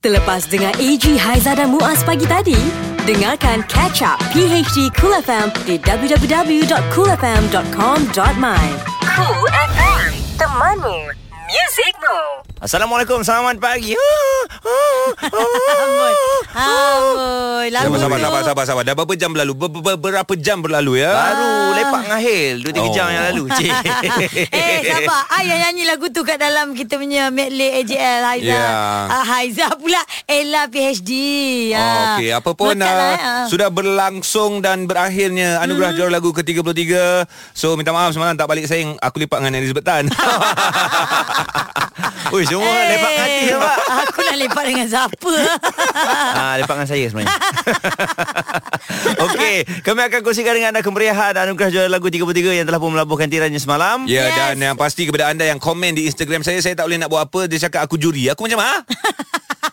Terlepas dengar AG Haiza dan Muaz pagi tadi, dengarkan Catch Up PHD Cool FM di www.coolfm.com.my. Cool FM, temanmu, muzikmu. Assalamualaikum, selamat pagi. Ah, ah, ah. Amboi, Sabar, sabar, sabar, lagu sabar, sabar. Dah berapa jam berlalu? Ber, ber, berapa jam berlalu ya? Baru lepak ngahil 2 3 oh. Oh. jam yang lalu. Cik. Eh, sabar. I yang nyanyi lagu tu kat dalam kita punya medley AJL Haiza. Ya. Ah, Haiza pula Ella PhD. Oh, Ah. Okey, apa pun Melekat uh, lah, ah. Hmm. sudah berlangsung dan berakhirnya anugerah mm-hmm. juara lagu ke-33. So minta maaf semalam tak balik sayang aku lepak dengan Elizabeth Tan. Oi, semua Eh, hey. lepak hati ya, Pak. Aku nak lepak dengan siapa? Ah, lepak dengan saya sebenarnya. Okey, kami akan kongsikan dengan anda kemeriahan anugerah juara lagu 33 yang telah pun melabuhkan tiranya semalam. Ya Yes. yes. dan yang pasti kepada anda yang komen di Instagram saya Saya tak boleh nak buat apa Dia cakap aku juri Aku macam "Ah?" ha?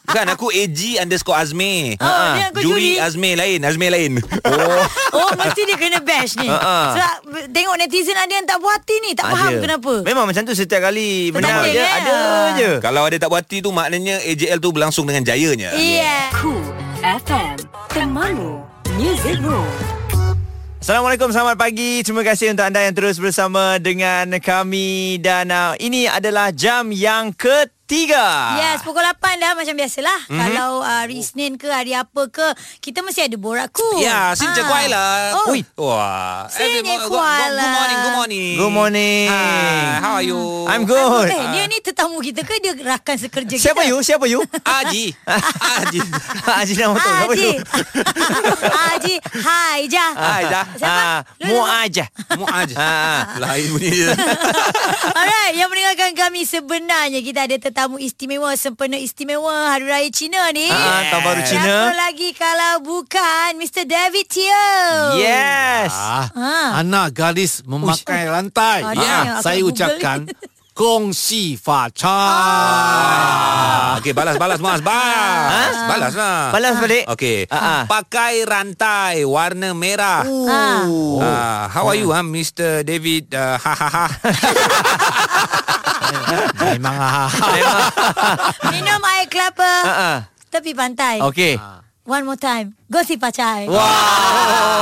Kan, Bukan aku AG underscore Azmi Oh, Ah, dia aku juri. Juri Azmi lain Azmi lain Oh Oh mesti dia kena bash Ha, ni Ha-ha. Sebab b- tengok netizen ada yang tak puas hati ni Tak faham Ada. kenapa Memang macam tu setiap kali Tertanding, menang je eh? ada je. Kalau ada tak buat hati tu Maknanya AJL tu berlangsung dengan jayanya Eh. Yeah Cool FM Temanmu Music Room Assalamualaikum selamat pagi. Terima kasih untuk anda yang terus bersama dengan kami dan uh, ini adalah jam yang Ah. ketiga. Yes, pukul 8 dah macam biasalah. Mhm. Mm-hmm. Kalau uh, hari Isnin ke hari apa ke, kita mesti ada borak cool. Ya, sin ha. kuai lah. Oh, Ui. Wah. Sin Every mo- je kuai good- Good lah. morning, good morning. Good morning. Hi, how are you? I'm good. eh, dia ni tetamu kita ke dia rakan sekerja Siapa kita? you? Siapa you? Aji. Aji. Haji nama tu. Siapa Haji. you? Haji. Hai Jah. Hai dah. Siapa? Lu- lu- Muaj. Muaj. Ah. Lain bunyi dia. Alright, yang mendengarkan kami sebenarnya kita ada tetamu istimewa sempena istimewa Hari Raya Cina ni. Ah, tahun baru Cina. Siapa lagi kalau bukan Mr. David Teo. Yes. Ah, Ha. anak gadis memakai lantai. Ah, Ah, dia yang akan saya Google. ucapkan kongsi fa cha. Ah. Okey, balas-balas Mas, balas. Balas lah. Ha? Balas balik. Okey. Ah, ah. Pakai rantai warna merah. Ha. Ah. Oh. Ah, how are you, ah, Mr. David? Ah, Ha ha ha. Memang ah. Minum air kelapa. Ah, ah. Tepi pantai. Okey. One more time. Go si pacai. Wow. Ah,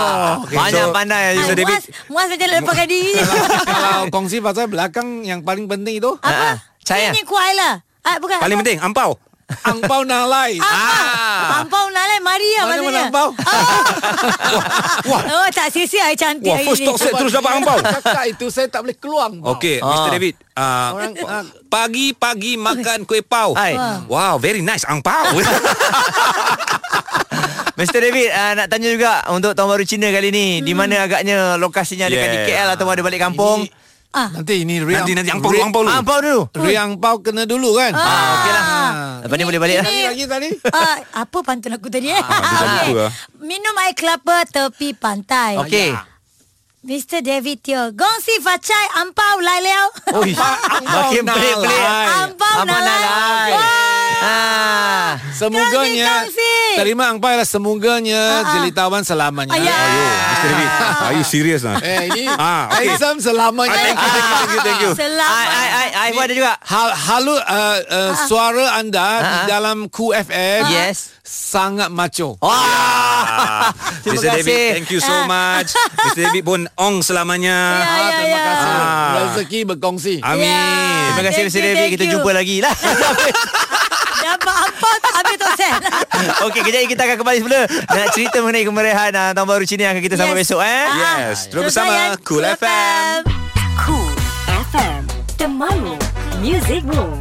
Wow. Okay, Banyak so- pandai Mr. David. Muaz, Muaz macam nak lepaskan diri je. Kalau kongsi fa cha belakang yang paling penting itu Apa? Ah, saya. Ini kuai lah. Ah, bukan. Paling apa? penting, ampau. angpau nalai. Ah. Ampau nalai mari lah Mana maksudnya. mana angpau? Wah. Oh, tak sia-sia air cantik Wah, hari first ni. talk set terus dapat ampau. Cakap itu saya tak boleh keluar. angpau. Okey, Ah. Mr. David. ah, Orang- ah. pagi-pagi makan kuih pau. Hai. Wow, very nice angpau. Mr. David uh, nak tanya juga untuk tahun baru Cina kali ni Hmm. di mana agaknya lokasinya adakah di Yeah. KL atau ada balik kampung? Ah. Nanti ini riang. nanti nanti angpau dulu, riang- angpau dulu. Ampau dulu. Riang pau kena dulu kan? Oh, Ah, okeylah. Lepas ni boleh balik lah. ini- Lagi tadi. Ah, apa pantun aku tadi eh? pantun Okey. tu lah. Minum air kelapa tepi pantai. Okey. Ya. Mr. David Teo. Gongsi facai ampau lai leo. Oh, makin pelik-pelik. nalai. Ampau Ampau nalai. nalai. Ah. Semuganya Kongsi, kongsi. Terima angpau lah semuganya Jelitawan selamanya Ah, Ayah. Ah. Mr. Oh, David, are you serious lah? Eh ini Ha, Ah, ah, okey. Aizam selamanya Ah, thank you, thank you, thank you, thank you. Ai Selamat. ai ai ai pun ada juga. Hal, halu uh, uh, Ha, suara anda di Ah. dalam QFM Yes. sangat maco. Ya. Ah, Wah. Terima Mr. David, kasih. thank you so much. Mr. David pun ong selamanya. Ha. Ah. Ya, ya, terima ya. kasih. Ah. Rezeki berkongsi. Amin. Ya. Terima kasih Thank Mr. you, David. thank Kita you. jumpa lagi lah. Dapat ampau tak habis tak sen. Okey, kejap lagi kita akan kembali semula nak cerita mengenai kemeriahan ah, tahun baru Cina yang akan kita sama Yes. besok eh. Ah, ah. Yes, terus bersama layan Cool FM. Cool FM Temanmu Music Room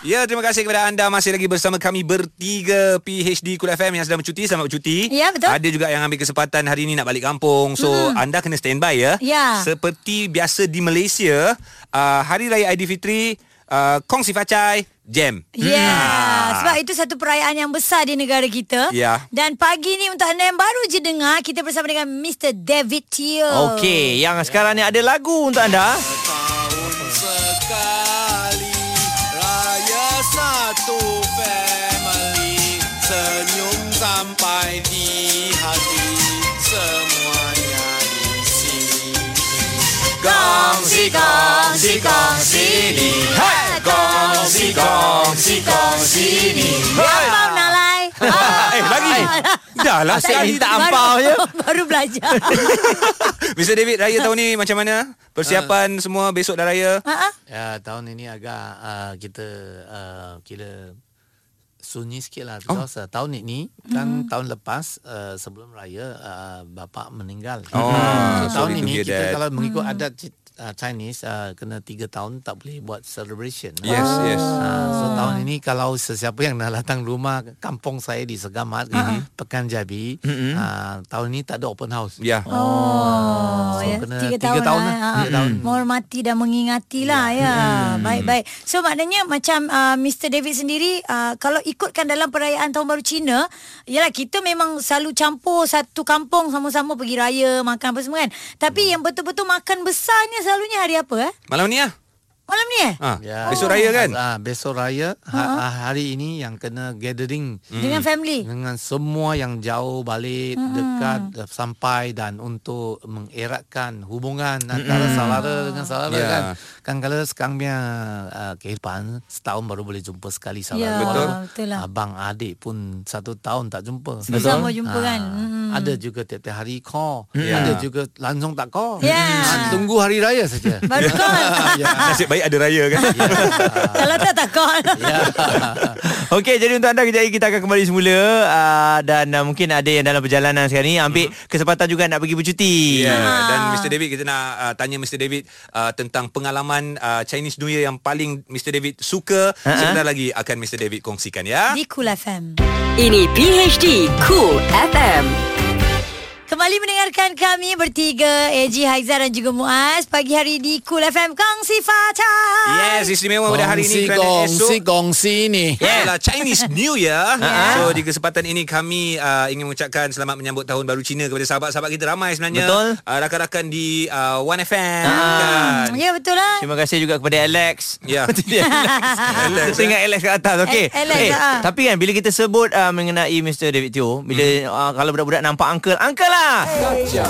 Ya, terima kasih kepada anda masih lagi bersama kami bertiga PHD Kul FM yang sedang bercuti, selamat bercuti. Ya, betul. Ada juga yang ambil kesempatan hari ini nak balik kampung. So, mm. anda kena standby ya. Ya. Seperti biasa di Malaysia, uh, Hari Raya Aidilfitri, uh, Kong Si Facai, jam. Ah. Ya, yeah, sebab itu satu perayaan yang besar di negara Hmm. kita. Ya. Dan pagi ni untuk anda yang baru je dengar, kita bersama dengan Mr. David Teo. Okey, yang sekarang ni ada lagu untuk anda. Sekali raya satu family senyum sampai di hati semuanya di sini. Kongsi, kongsi, kongsi ni. Hey! Kongsi, kongsi, kongsi ni. Yang susah lah. Asyik ada. minta Ah. Baru- ampau je. Baru belajar. Mr. David, raya tahun ni macam mana? Persiapan semua besok dah raya. Ha, ha. Ya, tahun ini agak uh, kita uh, kira sunyi sikit lah because oh. uh, tahun ini kan tahun lepas uh, sebelum raya uh, bapa meninggal. Oh, so, sorry tahun to ini hear kita that. kalau mengikut adat Ci- uh, Chinese uh, kena tiga tahun tak boleh buat celebration. Yes, yes. Ah, so tahun ini kalau sesiapa yang nak datang rumah kampung saya di Segamat, Pekan Jabi, ah, tahun ini tak ada open house. Ah, Ya. Oh, So, ya. kena tiga, tiga tahun, tahun lah. lah. Tiga Ha, Hmm. ha. tahun. Menghormati dan mengingati lah ya. Baik-baik. So maknanya macam uh, Mr. David sendiri uh, kalau ikutkan dalam perayaan Tahun Baru Cina, yalah kita memang selalu campur satu kampung sama-sama pergi raya, makan apa semua kan. Tapi yang betul-betul makan besarnya selalunya hari apa eh? Malam ni lah. Malam ni eh? Ha. Besok raya kan? Ah, besok raya ha, hari ini yang kena gathering Hmm. Dengan family. Hmm. dengan semua yang jauh balik, dekat, eh, sampai dan untuk mengeratkan hubungan antara saudara dengan saudara Hmm. Ya. kan. Kan kalau sekarang punya uh, kehidupan setahun baru boleh jumpa sekali saudara. Ya, Betul. betul lah. Abang adik pun satu tahun tak jumpa. Susah Betul. mau jumpa kan. Hmm. Ada juga tiap-tiap hari call. Ya. Ada juga langsung tak call. Ya. Ah, tunggu hari raya saja. Ya. Baru call. Nasib baik ada raya kan? kalau tak tak call. Ya. Okey, jadi untuk anda kejap lagi kita akan kembali semula uh, dan uh, mungkin ada yang dalam perjalanan sekarang ni ambil mm-hmm. kesempatan juga nak pergi bercuti. Hmm. Ya, yeah. Ah. dan Mr David kita nak uh, tanya Mr David uh, tentang pengalaman uh, Chinese New Year yang paling Mr David suka. Uh-huh. Sebentar lagi akan Mr David kongsikan ya. Di Cool FM. Ini PHD Cool FM. Kembali mendengarkan kami bertiga AG Haizar dan juga Muaz pagi hari di Cool FM Kongsi Fata. Yes, istimewa pada hari ini kerana Gongsi, esok gongsi ni. Yeah. Adalah Chinese New Year. Yeah. So di kesempatan ini kami uh, ingin mengucapkan selamat menyambut tahun baru Cina kepada sahabat-sahabat kita ramai sebenarnya. Betul. Uh, rakan-rakan di uh, 1FM kan. Hmm, ya betul lah. Terima kasih juga kepada Alex. Ya. Dia Alex. Alex, eh. Kita ingat Alex kat atas. Okey. A- Alex, ah. tapi kan bila kita sebut uh, mengenai Mr David Teo, bila hmm. uh, kalau budak-budak nampak uncle, uncle lah. Ya.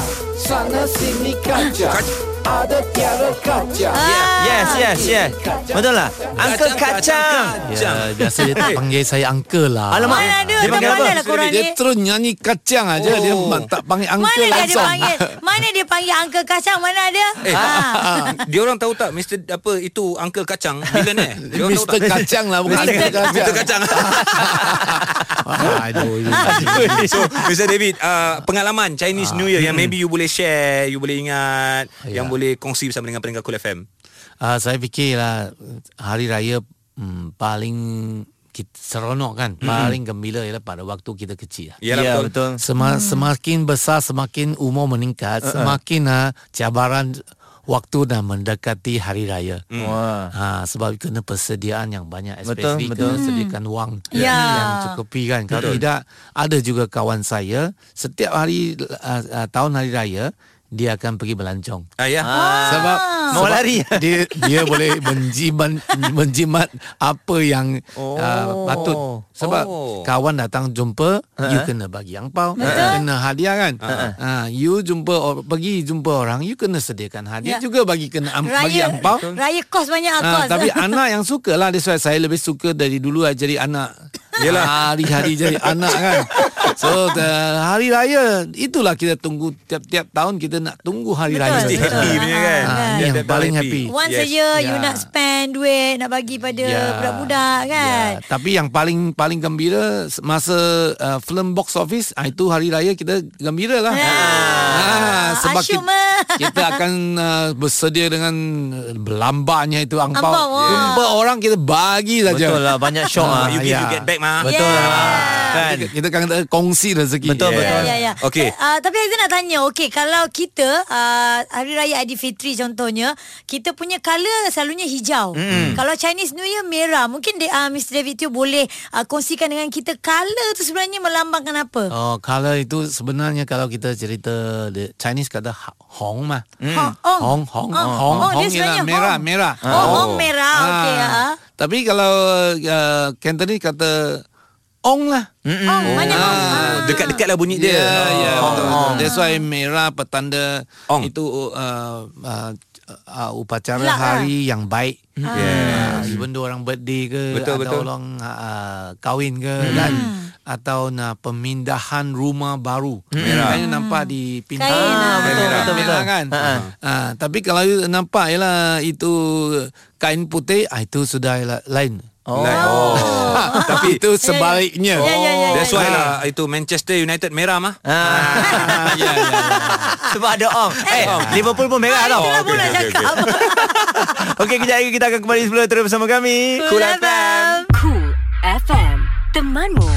Yes, yes, yes. Betul lah. Uncle kacang. Ya, biasa dia tak panggil saya uncle lah. Alamak. Mana ada? Dia Dah panggil apa? mana lah korang ni? Dia terus nyanyi kacang aja oh. Dia ma- tak panggil Mana uncle dah dia langsung panggil? Mana dia panggil Uncle Kacang? Mana ada? Eh, Ha. dia orang tahu tak Mr apa itu Uncle Kacang millionaire? Dia orang tahu Mr. tak? Kacang lah Bukan Mr. Uncle Kacang Mr Kacang. Aduh ini. so, Mr David, uh, pengalaman Ah. Chinese New Year yang maybe you boleh share, you boleh ingat, yang Ya. boleh kongsi bersama dengan pendengar Cool FM. Ah, Saya fikirlah Hari Raya hmm, Paling kita, Seronok kan Paling gembira ialah Pada waktu kita kecil lah. Ya, Yalah, betul. betul. Hmm. Sema, Semakin besar Semakin umur meningkat Uh-uh. Semakin ah, cabaran Waktu dah mendekati Hari Raya Hmm. Wah. Ha, sebab kena persediaan yang banyak Betul, especially betul. Hmm. betul, sediakan wang Ya. yang cukupi kan kalau tidak ada juga kawan saya setiap hari uh, uh, tahun hari raya dia akan pergi melancong Ah, ya. sebab Ah. Mau sebab lari. dia dia boleh menjimat menjimat apa yang oh. Oh. uh, patut sebab Oh. oh. kawan datang jumpa uh-huh. you Ha? kena bagi angpau uh-huh. kena hadiah kan uh-huh. uh, you jumpa or, pergi jumpa orang you kena sediakan hadiah Ya. juga bagi kena am, bagi Raya, angpau raya kos banyak ah, Ah, kos. tapi anak yang suka lah That's why saya lebih suka dari dulu lah jadi anak Yelah Hari-hari jadi anak kan So the hari raya Itulah kita tunggu Tiap-tiap tahun kita nak tunggu hari Betul, raya Mesti betul. happy punya kan. Ah, ini yang Tiap-tiap paling tahun happy. Once a Yes. year you Ya. nak spend duit nak bagi pada Ya. budak-budak kan. Ya, tapi yang paling paling gembira masa uh, film box office ah, itu hari raya kita gembira lah. Ah, sebab Asyuk, kita, Ma. kita akan uh, bersedia dengan uh, belambanya itu angpau. Angpau, wah. Jumpa orang kita bagi saja. Betul lah banyak syok ah. Ah, You give, you Ya. get back, ma. Betul lah. Kan. Kita- Kita akan kongsi rezeki. Betul, Ya, betul. ya, ya. Kan? Okey. Eh, Uh, tapi Aizan nak tanya, okey kalau kita uh, Hari Raya Aidilfitri contohnya, kita punya colour selalunya hijau. Mm. Kalau Chinese New Year merah. Mungkin dia, uh, Mr. David Teo boleh uh, kongsikan dengan kita colour tu sebenarnya melambangkan apa? Oh, color itu sebenarnya kalau kita cerita the Chinese kata ha- hong mah. Hong, hong. Hong, hong, Ha, Oh, hong, hong, oh, dia hong sebenarnya ialah merah, hong. merah. Oh, hong merah, okey, ah. Tapi kalau uh, Cantonese kata ong lah. Mm. Oh, banyak Ah. hong. Ah. Dekat-dekat lah bunyi Ya, dia. ya, Oh. betul, betul. That's why merah petanda Ong. itu uh, uh, uh, upacara Lah, hari yang baik. Ah, Yeah. even though orang birthday ke Atau Betul, betul. Hmm. orang uh, kahwin ke kan atau uh, pemindahan rumah baru. Hmm. Merah. Kan nampak di pintu. Kain, ah, lah. betul, merah, betul, betul. merah kan. Ha, ha. Ha, tapi kalau you nampak ialah itu kain putih, ah, itu sudah ialah lain. Oh. Like, oh. Tapi itu sebaliknya. Ya, ya, ya, That's why lah itu Manchester United merah mah. Ah. ya, ya, ya. Sebab ada Om. Eh, Liverpool pun merah tau. Ah, Itulah pun okey, nak okey, okey. cakap. Okey, kejap lagi kita akan kembali sebelum terus bersama kami. Cool FM. Cool FM Temanmu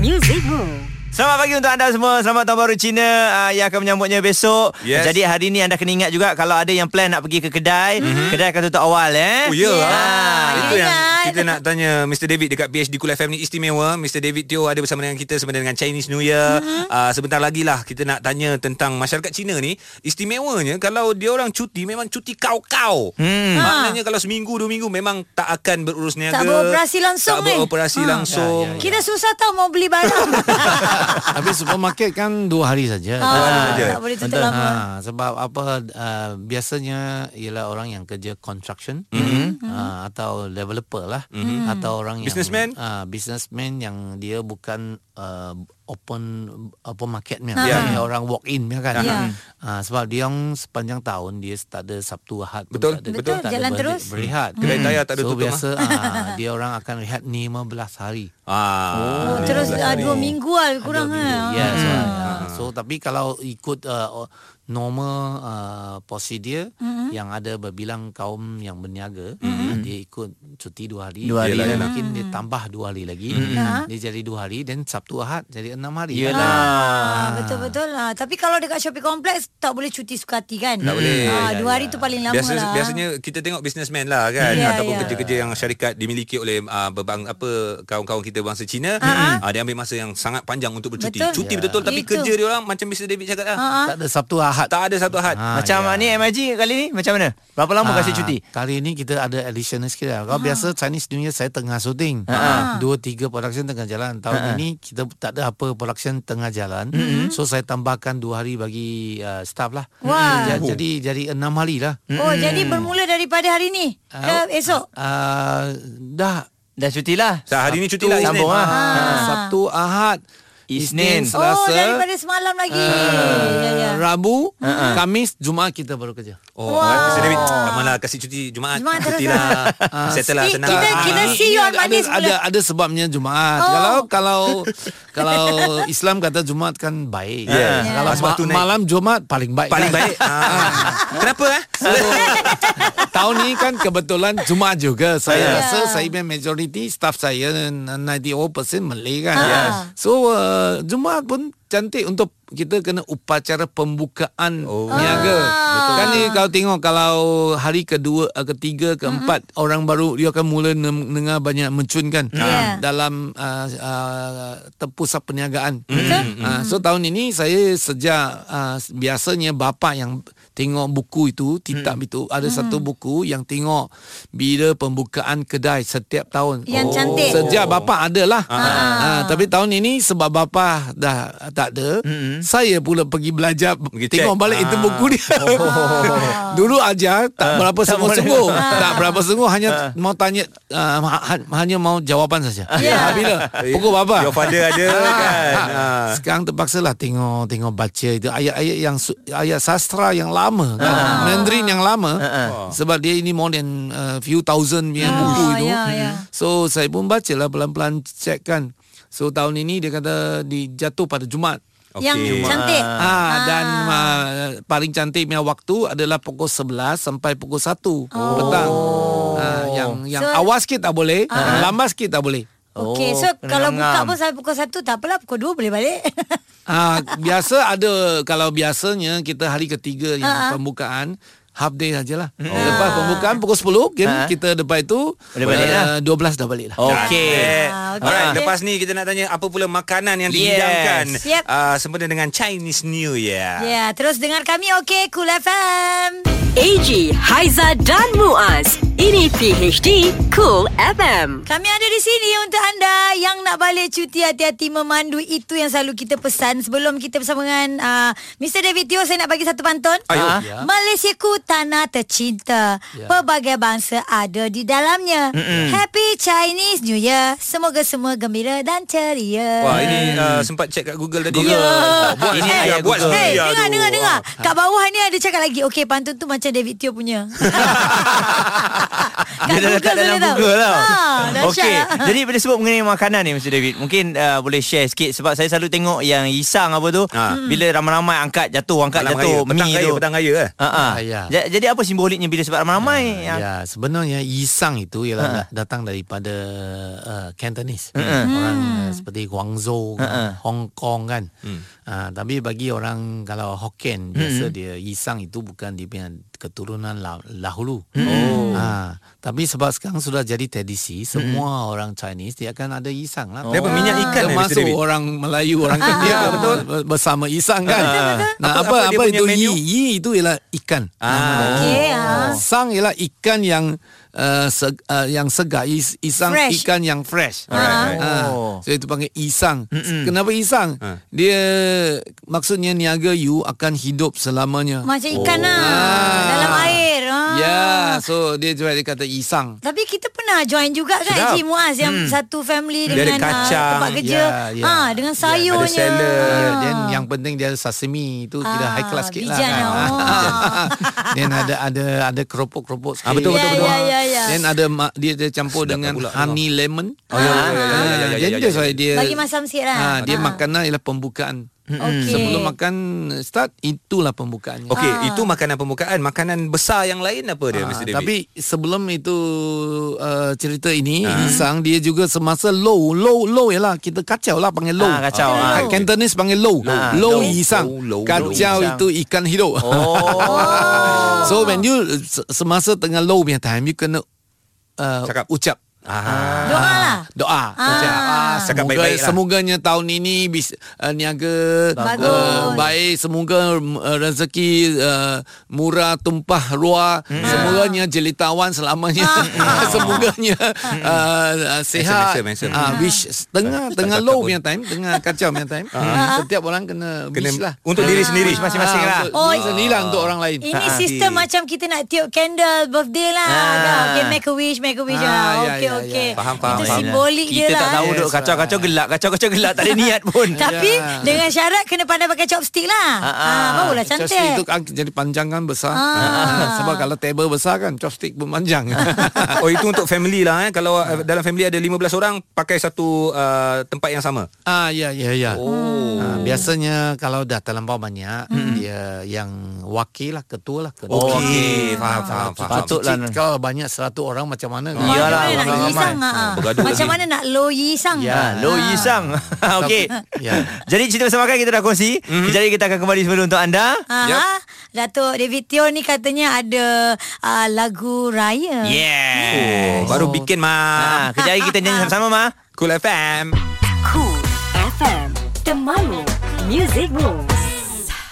Muzikmu Selamat pagi untuk anda semua. Selamat tahun baru Cina uh, yang akan menyambutnya besok. Yes. Jadi hari ni anda kena ingat juga kalau ada yang plan nak pergi ke kedai, mm-hmm. kedai akan tutup awal eh. Mhm. Oh ya yeah. ah, Ya, Itu yang ingat. kita nak tanya Mr. David dekat PhD Cool FM ni istimewa Mr. David Teo ada bersama dengan kita Sebenarnya dengan Chinese New Year mm-hmm. uh, Sebentar lagi lah kita nak tanya tentang masyarakat Cina ni Istimewanya kalau dia orang cuti memang cuti kau-kau hmm. Maknanya kalau seminggu dua minggu memang tak akan berurus niaga Tak beroperasi langsung Tak ni. beroperasi Ah. Ha. langsung Ya, ya, Kita susah tau mau beli barang. Tapi supermarket kan dua hari saja. Ah, saja. tak boleh tutup lama. Ha, sebab apa uh, biasanya ialah orang yang kerja construction mm-hmm. uh, atau developer lah mm-hmm. atau orang Businessman? yang uh, businessman yang dia bukan uh, open open market punya Ya. Dia orang walk in punya kan. Ah. Ya. Uh, sebab dia orang sepanjang tahun dia tak ada Sabtu Ahad pun Betul, tak ada, betul. tak ada Jalan berli- terus. berehat. Hmm. Kedai tayar tak ada so, tutup, biasa uh, dia orang akan rehat 15 hari. ah. ya, Oh, terus ah, dua minggu lah lebih kurang Ya, lah. yeah, so, Hmm. uh, so tapi kalau ikut uh, normal uh, prosedur mm-hmm. yang ada berbilang kaum yang berniaga, mm-hmm. dia ikut cuti dua hari. Dua hari, lah. Dia yelah. mungkin dia tambah dua hari lagi. Mm-hmm. Dia jadi dua hari dan Sabtu Ahad jadi enam hari. Yelah. Ah, betul-betul lah. Tapi kalau dekat shopping complex tak boleh cuti suka hati kan? Tak boleh. Ah, Ya, dua hari tu paling lama Biasa, lah. Biasanya kita tengok businessman lah kan Ya, yeah, ataupun ya. kerja-kerja yang syarikat dimiliki oleh uh, berbang apa kawan-kawan kita bangsa Cina Ha-ha. uh, dia ambil masa yang sangat panjang untuk bercuti. Ha, Betul. Ha, Cuti Ya. betul-betul tapi Itu. kerja dia orang macam Mr David cakap lah. Tak ada Sabtu Ahad. Tak ada satu had. Ah, Macam ya. ni MIG kali ni macam mana? Berapa lama kasih Ah, cuti? Kali ni kita ada additional sikit lah. Kalau Ah. biasa Chinese New Year saya tengah syuting. Ah, Dua, tiga production tengah jalan. Tahun ini kita tak ada apa production tengah jalan. Mm-hmm. So saya tambahkan dua hari bagi uh, staff lah. Wah. Ja- Jadi jadi enam hari lah. Mm-hmm. Oh, jadi bermula daripada hari ni Ah, ke esok? Uh, dah. Dah cuti lah. Sah, hari ni cuti lah Isnin. Sambung lah. Ah, Sabtu, Ahad. Isnin. Isnin, Oh, Selasa, Ah. daripada semalam lagi. Ya, ya. Rabu, Ah, Kamis, Jumaat kita baru kerja. Oh, Mr David, tak malah kasih cuti Jumaat. Jumaat terus cuti lah. lah. Settle lah Eh, senang. kita- Ah. kita- Ini- see ini you on ada, Monday ada, ada ada sebabnya Jumaat. Oh. Oh. Kalau kalau kalau Islam kata Jumaat kan baik. Yeah. Kalau Ya. Yeah. Ya. Sebab ma- tu naik. malam Jumaat paling baik. Paling kan? baik. Ah. Kenapa eh? Tahun ni kan kebetulan Jumaat juga. Saya Yeah. rasa saya punya majority staff saya 90% Malay kan. So uh, Jumaat pun cantik untuk kita kena upacara pembukaan Oh. oh. niaga. Kan ni kalau tengok kalau hari kedua, uh, ketiga, keempat orang baru dia akan mula nem- dengar banyak mencunkan Yeah. dalam uh, uh, tempusat perniagaan. Uh, so tahun ini saya sejak uh, biasanya bapa yang tengok buku itu, titap itu ada Mm-hmm. satu buku yang tengok bila pembukaan kedai setiap tahun. Yang cantik. Sejak bapa ada lah. Ah, tapi tahun ini sebab bapa dah tak ada, saya pula pergi belajar Pergi tengok check. balik itu Ah. buku dia. Oh. Dulu ajar tak berapa tak sungguh-sungguh. boleh. tak berapa sungguh hanya mau tanya ah, ha- ha- hanya mau jawapan saja. Ya. Ha, bila pukul bapa. Your father ada kan. Ah. Sekarang terpaksalah tengok tengok baca itu ayat-ayat yang su- ayat sastra yang lama kan. Ah. Ah. Mandarin yang lama Ha, Oh. sebab dia ini more than uh, few thousand Ah. punya buku itu. ya, ya. So saya pun baca lah pelan-pelan check kan. So tahun ini dia kata dijatuh pada Jumaat. Okey. Yang cantik. Ah, dan uh, paling cantik punya waktu adalah pukul 11 sampai pukul 1 oh. petang. Ah, yang yang So- ah. awal sikit tak boleh, lambat sikit tak boleh. Okey, Oh, so kena kalau buka ngam. pun sampai pukul 1 tak apalah pukul 2 boleh balik. Ah biasa ada kalau biasanya kita hari ketiga yang Ah, ah. pembukaan half day sajalah. Oh. Lepas pembukaan pukul 10 game Ah. kita lepas itu Boleh balik uh, 12 dah balik lah. Okey. Ah, okey. Alright, Okey. lepas ni kita nak tanya apa pula makanan yang Yes. dihidangkan Yep. ah, sempena dengan Chinese New Year. ya, terus dengar kami okey Cool FM. AG, Haiza dan Muaz Ini PHD Cool FM. Kami ada di sini untuk anda yang nak balik cuti hati-hati memandu itu yang selalu kita pesan sebelum kita bersama dengan uh, Mr David Teo saya nak bagi satu pantun. Ayo. Ya. Malaysia ku tanah tercinta. Pelbagai bangsa ada di dalamnya. Mm-mm. Happy Chinese New Year. Semoga semua gembira dan ceria. Wah ini uh, sempat check kat Google tadi. Google. Ah, buat Ini ini ayat buat Google. sendiri. Hey, Aduh. dengar, Oh, dengar, dengar. Kat bawah ni ada cakap lagi. Okey, pantun tu macam David Teo punya. Kat Dia dah letak dalam boleh tahu. Google tau. Ha, dahsyat. Okey. Jadi bila sebut mengenai makanan ni Mr. David, mungkin uh, boleh share sikit sebab saya selalu tengok yang isang apa tu. Hmm. Ha. Bila ramai-ramai angkat jatuh, angkat Malam jatuh raya, petang mi raya, tu. petang raya eh. Ha ah. Ah, ya. Ja- Jadi apa simboliknya bila sebab ramai-ramai? Ya, ya sebenarnya Yisang itu ialah da- datang daripada uh, Cantonese. Orang uh, seperti Guangzhou, kan, Hong Kong kan. Ah, tapi bagi orang kalau Hokkien biasa dia Yisang itu bukan dia punya keturunan La- Lahulu. Oh. tapi sebab sekarang sudah jadi tradisi semua orang Chinese dia akan ada Yisang lah. Dia apa, minyak ikan eh, Mr. Termasuk David? orang Melayu, orang India betul bersama Isang kan. Nah, apa Apa- apa dia apa, punya itu menu? yi? Yi itu ialah ikan. Ah. Okey, ah. Sang ialah ikan yang uh, seg, uh, yang segar, Is, isang Fresh. ikan yang fresh. Alright, Ah, Oh. So itu panggil isang. Mm-mm. Kenapa isang? Dia maksudnya niaga you akan hidup selamanya. Macam ikan lah. Ah. Dalam air. Ah. ya, so dia juga dia kata isang. Tapi kita pernah join juga kan Sedap. Haji Muaz yang Hmm. satu family Dia ada dengan ah, kacang. tempat kerja. Ya, ya. Ah dengan ada sayurnya. salad. Ya, dan yang penting dia ada sashimi itu kita Ah, high class sikit lah. bijan kan. lah. Wah. Dan ada ada ada keropok-keropok sikit. Ah, betul, betul, Ya, betul. ya, ya, ya. Dan ada ma- dia dia campur Sedap dengan pula tu. honey lemon. Oh, ya, ya, ya, ya, ya, ya, ya, Jadi ya, dia ya. saya dia Bagi masam sikit lah. Ah, dia Ah. makanan ialah pembukaan. Okey. Sebelum makan start itulah pembukaannya. Hmm. Okey, itu makanan pembukaan. Makanan besar yang lain apa dia Mr. David? Ah, Tapi sebelum itu uh, cerita ini Ah. Isang dia juga semasa low low low ialah kita kacau lah panggil low. Ah, kacau, Ah, ah. Cantonese panggil low. Ah, low, low. Isang. Low, low, kacau low, Isang. itu ikan hidup. Oh. so when you se- semasa tengah low punya time you kena uh, Cakap. ucap Ah. Doa lah. doa. Ucap. Ah, semoga Cakap baik-baik lah. semoganya tahun ini bis, uh, niaga Bagus. Uh, baik, semoga uh, rezeki uh, murah tumpah ruah, hmm. semoganya jelitawan selamanya, Ah. semoganya uh, uh, sihat. Handsome, handsome, handsome. Ah, wish tengah tengah tak low pun. punya time, tengah kacau punya time. Hmm. Setiap orang kena, Kena wish lah. untuk diri sendiri. Wish masing-masing lah. Oh, Oh, sendirilah untuk orang lain. Ini Ah, sistem okey. macam kita nak tiup candle birthday lah. Ah. Okay, make a wish, make a wish. Ah, Ah, ya, okay, ya, ya. okay. Faham, faham, Itu faham. simbolik Kita je lah. tak tahu eh. duk kacau-kacau gelak, kacau-kacau gelak tak ada niat pun. Tapi Ya. dengan syarat kena pandai pakai chopstick lah. ah. Ah, ah. barulah Chopstick itu cantik. kan jadi panjang kan besar. Ah. Sebab kalau table besar kan chopstick pun panjang. Oh itu untuk family lah eh. Kalau uh, dalam family ada 15 orang pakai satu uh, tempat yang sama. ah ya ya ya. Oh. Ah, biasanya kalau dah terlampau banyak dia yang wakil lah ketua lah ketua. Okey, faham faham Faham, faham. Patut. Patutlah. Kalau banyak 100 orang macam mana? Kan? Macam Iyalah, mana nak orang yisang ramai. ah, ah. Bergaduh Macam lagi. mana nak low yisang Ah, Low Yi Sang. Okey. Ya. Jadi cerita bersama kan kita dah kongsi. Jadi kita akan kembali sebelum untuk anda. Ah, Datuk David Teo ni katanya ada ah, lagu raya. Yeah. Oh, baru bikin Ah, mah. kejap lagi kita nyanyi sama-sama mah. Cool FM. Cool FM. Temanmu, music rules.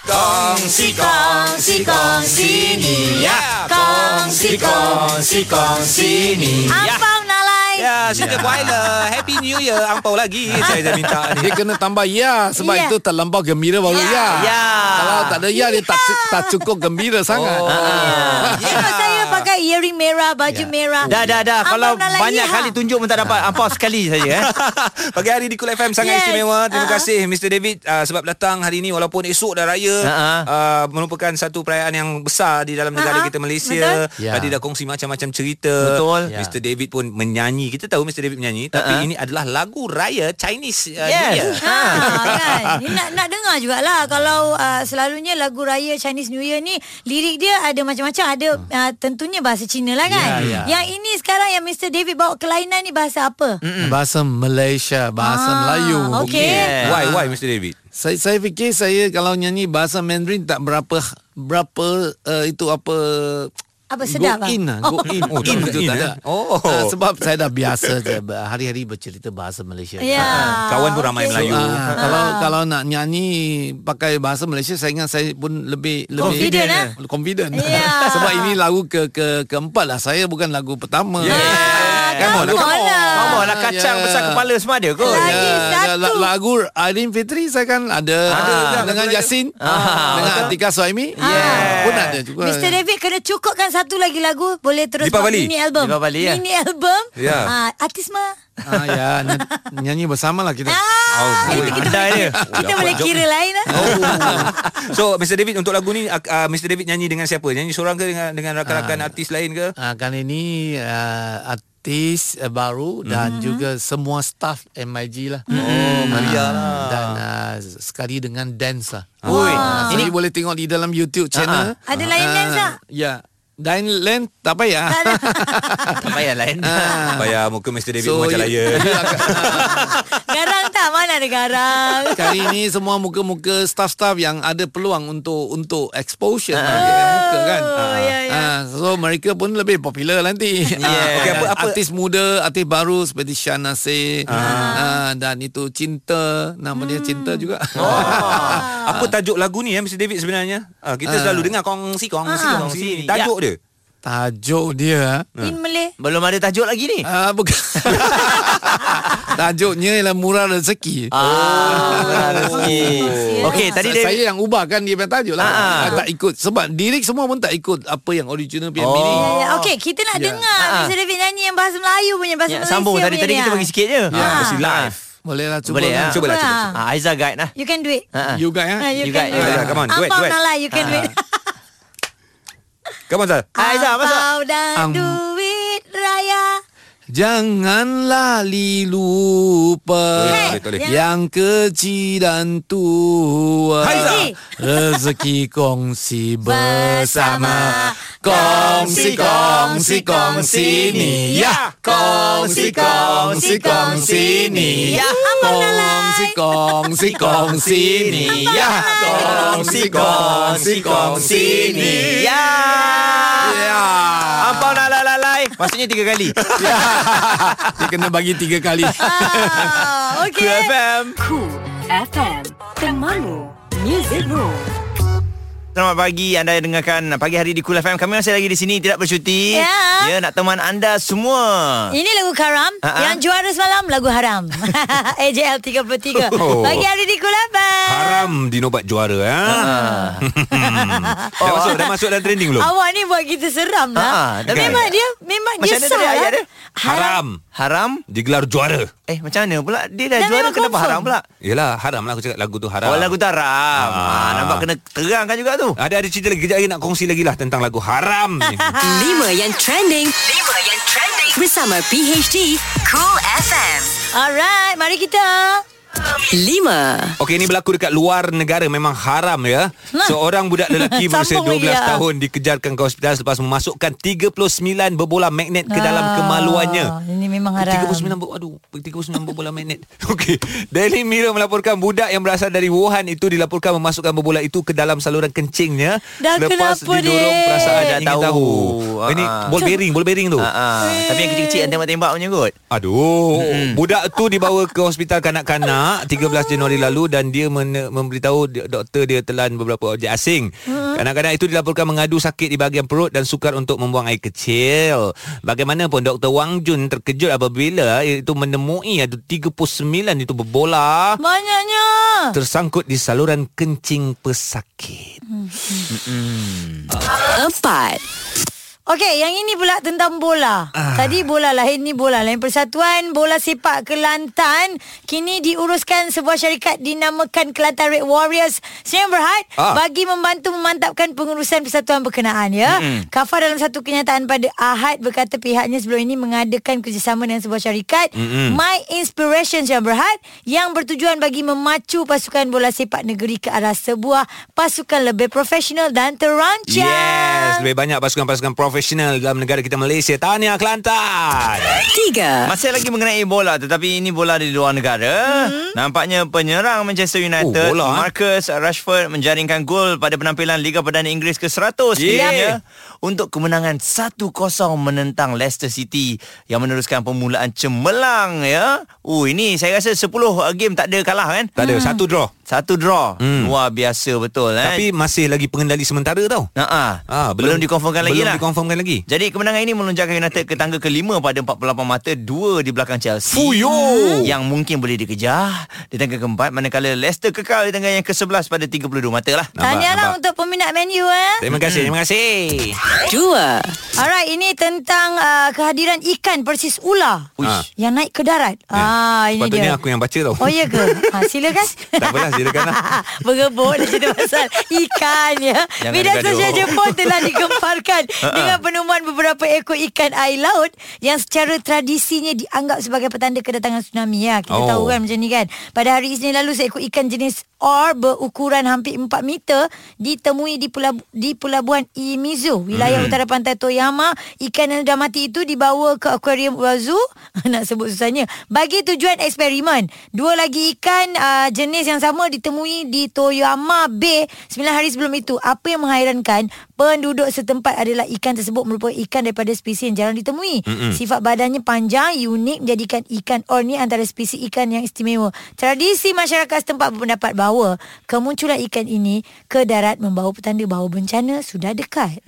Kongsi, kongsi, kongsi ni ya. Kongsi, kongsi, kongsi ni ya. Abang Nalai. Ya, sudah yeah. Happy New Year. Angpau lagi saya dah minta ni. Dia kena tambah ya sebab Ah. Ya. itu terlampau gembira baru ya. Ya. Kalau tak ada ya dia tak cu- tak cukup gembira sangat. Ah. Tengok saya pakai earring merah, baju merah. Ya. Dah dah dah Abang kalau Nalai, banyak ya. kali tunjuk pun tak dapat ampau sekali saja eh. Pagi hari di Cool FM sangat yes. Yes. istimewa. Terima Ah. uh-huh. kasih Mr David uh, sebab datang hari ini walaupun esok dah raya Ah, ah. uh-huh. uh, merupakan satu perayaan yang besar di dalam negara Ah, ah. uh-huh. kita Malaysia. Betul. Ya. Tadi dah kongsi macam-macam cerita. Betul. Ya. Mr David pun menyanyi. Kita tahu Mr David menyanyi tapi Ah, ah. ini adalah lagu raya Chinese uh, Yes. New Year. Ha, kan. Ni nak nak dengar jugalah kalau uh, selalunya lagu raya Chinese New Year ni lirik dia ada macam-macam ada uh, tentunya bahasa Cina lah kan. Ya, ya. Yang ini sekarang yang Mr David bawa kelainan ni bahasa apa? Mm, Hmm. Bahasa Malaysia, bahasa Ah, Melayu. okey. Yeah. Why why Mr David? Saya saya fikir saya kalau nyanyi bahasa Mandarin tak berapa berapa uh, itu eh, apa Apa sedap go ah? in lah. Go in. Oh, tak in ada betul in, tak eh? ada. Oh. Ah, sebab saya dah biasa je ber- hari-hari bercerita bahasa Malaysia. Ya. Kawan pun ramai Melayu. Ah, kalau kalau nak nyanyi pakai bahasa Malaysia saya ingat saya pun lebih lebih Confident, eh? confident. Ya. Sebab ini lagu ke ke keempat lah. Saya bukan lagu pertama. Ya. Kan? Ah, Come on, come on lah. Come on lah kacang Ya. besar kepala semua ada kot. Lagi Ya, satu. la- lagu Aidin Fitri saya kan ada, Ah, Ada juga, dengan lagu-lagu. Yasin Ah, dengan betul. Atika Suhaimi Ah. Ya, Yeah. pun ada juga Mr. David kena cukupkan satu lagi lagu Boleh terus buat Deepavali. mini album Deepavali, ya. Mini album Ya. Ah, Artis mah ah, ya, ny- nyanyi bersama lah kita ah, Oh, boleh. itu kita, Pandai boleh, dia. kita boleh kira lain lah Oh. So Mr David untuk lagu ni uh, uh, Mr David nyanyi dengan siapa? Nyanyi seorang ke dengan dengan rakan-rakan artis lain ke? ah, kali ini ah, artis ah, baru Hmm. dan juga semua staff MIG lah oh Maria lah dan ah, sekali dengan dance lah Ui, Ah, jadi boleh tengok di dalam YouTube Ah, channel Ada lain dance tak? ya Dine Land tak payah tak payah lain. Ah. Bayar muka Mr David so, you- ya. macam layan. you akan- Garang tak? Mana ada garang Kali ini semua muka-muka staff-staff yang ada peluang untuk untuk exposure uh, muka kan. Oh, ya, ya. Ah, so mereka pun lebih popular nanti. Ah, Yeah. Okey, apa- apa- artis muda, artis baru seperti Shana Nasir ah, dan itu Cinta, nama dia Cinta juga. Ah. Oh. Ah. Apa tajuk lagu ni ya Mr David sebenarnya? Ah, kita selalu dengar kongsi kongsi Ah. Kongsi. kongsi. Tajuk dia. Tajuk dia Hmm. In Malay Belum ada tajuk lagi ni. ah, bukan. Tajuknya ialah murah rezeki. Ah, rezeki. Okey, tadi Sa- dia saya yang ubahkan dia punya tajuk lah. Ah. Saya tak ikut sebab lirik semua pun tak ikut apa yang original punya Oh. lirik. Ya, ya. Okey, kita nak Ya. dengar Ah, ah. Mr. David nyanyi yang bahasa Melayu punya Bahasa Ya, Malaysia sambung tadi punya tadi ni, kita ah. bagi sikit je. Ya, Ah. Mesti live. Boleh lah cuba. Boleh lah. ah. Cuba lah, cuba, Ah. Ah, Aiza guide lah. You can do it Ha. You guys Ah, eh. You You can got- do you it got- come on, do it, Ampau do it. Nala, you Ah. can do it Come on Zal. Ah, Aiza masuk. Ampau dan Am- duit raya Janganlah li lupa Hey, Boleh, boleh. yang kecil dan tua. Haizah. Rezeki kongsi bersama. Kongsi kongsi kongsi ni ya. Kongsi kongsi kongsi ni ya. Kongsi kongsi kongsi ni ya. Kongsi kongsi kongsi ni ya. Ya. Ya. Ampau nak lai lai lai. Maksudnya tiga kali. Dia kena bagi tiga kali. Ah, Cool Okay FM. Cool FM Temanmu Music Room Selamat pagi anda yang dengarkan pagi hari di Cool FM. Kami masih lagi di sini tidak bercuti. Ya. Ya, nak teman anda semua. Ini lagu Karam Ah, ah. Yang juara semalam Lagu Haram AJL 33 Oh. Pagi hari di Kulapan Haram dinobat juara ha? Ah. Hmm. dah masuk dah masuk dalam trending belum? Awak ni buat kita seram Ah, lah tapi- Memang dia Memang Macam dia mana sah tadi ayat lah dia? Haram. Haram? Digelar juara. Eh, macam mana pula? Dia dah, Dah juara memang kenapa confirm. haram pula? Yelah haram lah aku cakap lagu tu haram. Oh, lagu tu haram. Ah. Ah. nampak kena terangkan juga tu. Ada ada cerita lagi kejap lagi nak kongsi lagi lah tentang lagu haram ni. Lima yang trending Lima yang trending Bersama PHD Cool FM Alright Mari kita Lima Okey ini berlaku dekat luar negara memang haram ya. Seorang budak lelaki berusia 12 Sambung lagi, ah. tahun dikejarkan ke hospital selepas memasukkan 39 berbola magnet ke Ah, dalam kemaluannya. Ini memang haram 39 ber, aduh 39 berbola magnet. Okey. Daily Mirror melaporkan budak yang berasal dari Wuhan itu dilaporkan memasukkan berbola itu ke dalam saluran kencingnya Dah selepas kenapa didorong dia? perasaan Dah ingin tahu. tahu. Ini Ah. ball bearing, ball bearing tu. Ah, ah. Eh. Tapi yang kecil-kecil yang tembak-tembak punya kot. Aduh, mm-hmm. budak tu dibawa ke hospital kanak-kanak 13 Januari lalu dan dia men- memberitahu di- doktor dia telan beberapa objek asing. Hmm. Mm-hmm. Kanak-kanak itu dilaporkan mengadu sakit di bahagian perut dan sukar untuk membuang air kecil. Bagaimanapun Dr. Wang Jun terkejut apabila itu menemui ada 39 itu berbola Banyaknya tersangkut di saluran kencing pesakit. Empat Okey, yang ini pula tentang bola. Tadi bola lain ni bola lain. Persatuan Bola Sepak Kelantan kini diuruskan sebuah syarikat dinamakan Kelantan Red Warriors Sdn Berhad Ah. bagi membantu memantapkan pengurusan persatuan berkenaan ya. Kafa dalam satu kenyataan pada Ahad berkata pihaknya sebelum ini mengadakan kerjasama dengan sebuah syarikat My Inspiration Sdn Berhad yang bertujuan bagi memacu pasukan bola sepak negeri ke arah sebuah pasukan lebih profesional dan terancang. Ya, Yes, lebih banyak pasukan-pasukan prof profesional dalam negara kita Malaysia. Tahniah Kelantan. Tiga. Masih lagi mengenai bola tetapi ini bola di luar negara. Hmm. Nampaknya penyerang Manchester United Oh, bola, eh? Marcus Rashford menjaringkan gol pada penampilan Liga Perdana Inggris ke-100 kiranya untuk kemenangan 1-0 menentang Leicester City yang meneruskan permulaan cemerlang ya. Oh ini saya rasa 10 game tak ada kalah kan? Tak ada, satu draw. Satu draw. Hmm. Luar biasa betul eh. Tapi masih lagi pengendali sementara tau. Nah, Ah, belum, belum dikonfirmkan lagi belum lah. dikonfirmkan lagi. Jadi kemenangan ini melonjakkan United ke tangga kelima pada 48 mata, dua di belakang Chelsea. Fuyo! Yang mungkin boleh dikejar di tangga keempat manakala Leicester kekal di tangga yang ke-11 pada 32 mata lah. Tahniah lah untuk peminat Man U eh. Terima kasih, terima kasih. Dua. Alright, ini tentang uh, kehadiran ikan persis ular Uish. yang naik ke darat. Ah, ini dia. Ha, Ya. Sepatutnya aku yang baca tau. Oh ya ke? Ha, silakan. Tak apalah, silakan lah. Berebut dah cerita pasal ikan ya. Jangan Media gaduh. sosial Jepun telah digemparkan dengan penemuan beberapa ekor ikan air laut yang secara tradisinya dianggap sebagai petanda kedatangan tsunami ya. Kita Oh. tahu kan macam ni kan. Pada hari Isnin lalu seekor ikan jenis R berukuran hampir 4 meter ditemui di pelabu- di pelabuhan Imizu, wilayah hmm. utara pantai Toyama. Ikan yang dah mati itu dibawa ke akuarium Wazu, nak sebut susahnya, bagi tujuan eksperimen. Dua lagi ikan uh, jenis yang sama ditemui di Toyama Bay 9 hari sebelum itu. Apa yang menghairankan, penduduk setempat adalah ikan tersebut merupakan ikan daripada spesies yang jarang ditemui. Mm-hmm. Sifat badannya panjang, unik menjadikan ikan or ni antara spesies ikan yang istimewa. Tradisi masyarakat setempat berpendapat bahawa kemunculan ikan ini ke darat membawa petanda bahawa bencana sudah dekat.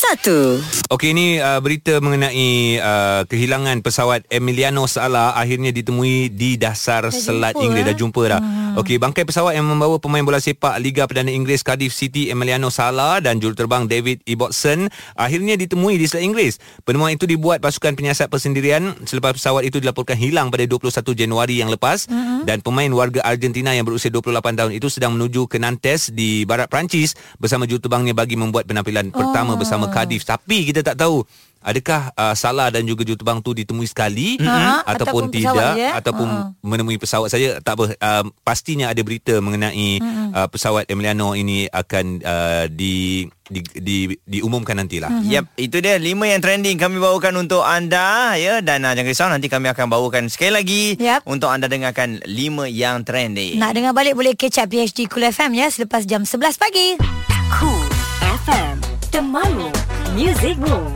Satu. Okey ini uh, berita mengenai uh, kehilangan pesawat Emiliano Sala akhirnya ditemui di dasar dah selat jumpa, jumpa, Inggeris eh? dah jumpa dah. Hmm. Okey bangkai pesawat yang membawa pemain bola sepak Liga Perdana Inggeris Cardiff City Emiliano Sala dan juruterbang David Ibbotson akhirnya ditemui di selat Inggeris. Penemuan itu dibuat pasukan penyiasat persendirian selepas pesawat itu dilaporkan hilang pada 21 Januari yang lepas hmm. dan pemain warga Argentina yang berusia 28 tahun itu sedang menuju ke Nantes di barat Perancis bersama juruterbangnya bagi membuat penampilan Ah. pertama bersama Cardiff tapi kita tak tahu adakah uh, Salah dan juga jutubang tu ditemui sekali Ha, mm-hmm. ataupun, ataupun ataupun tidak pesawat je, eh? ataupun Ha. menemui pesawat saja tak apa uh, pastinya ada berita mengenai mm-hmm. uh, pesawat Emiliano ini akan uh, di, di di diumumkan nantilah Mhm. mm-hmm. Yap, Lah. itu dia lima yang trending kami bawakan untuk anda ya dan uh, jangan risau nanti kami akan bawakan sekali lagi Yap. untuk anda dengarkan lima yang trending. Nak dengar balik boleh catch up PHD Cool FM ya selepas jam 11 pagi. Cool FM. Temanmu. Music Rules.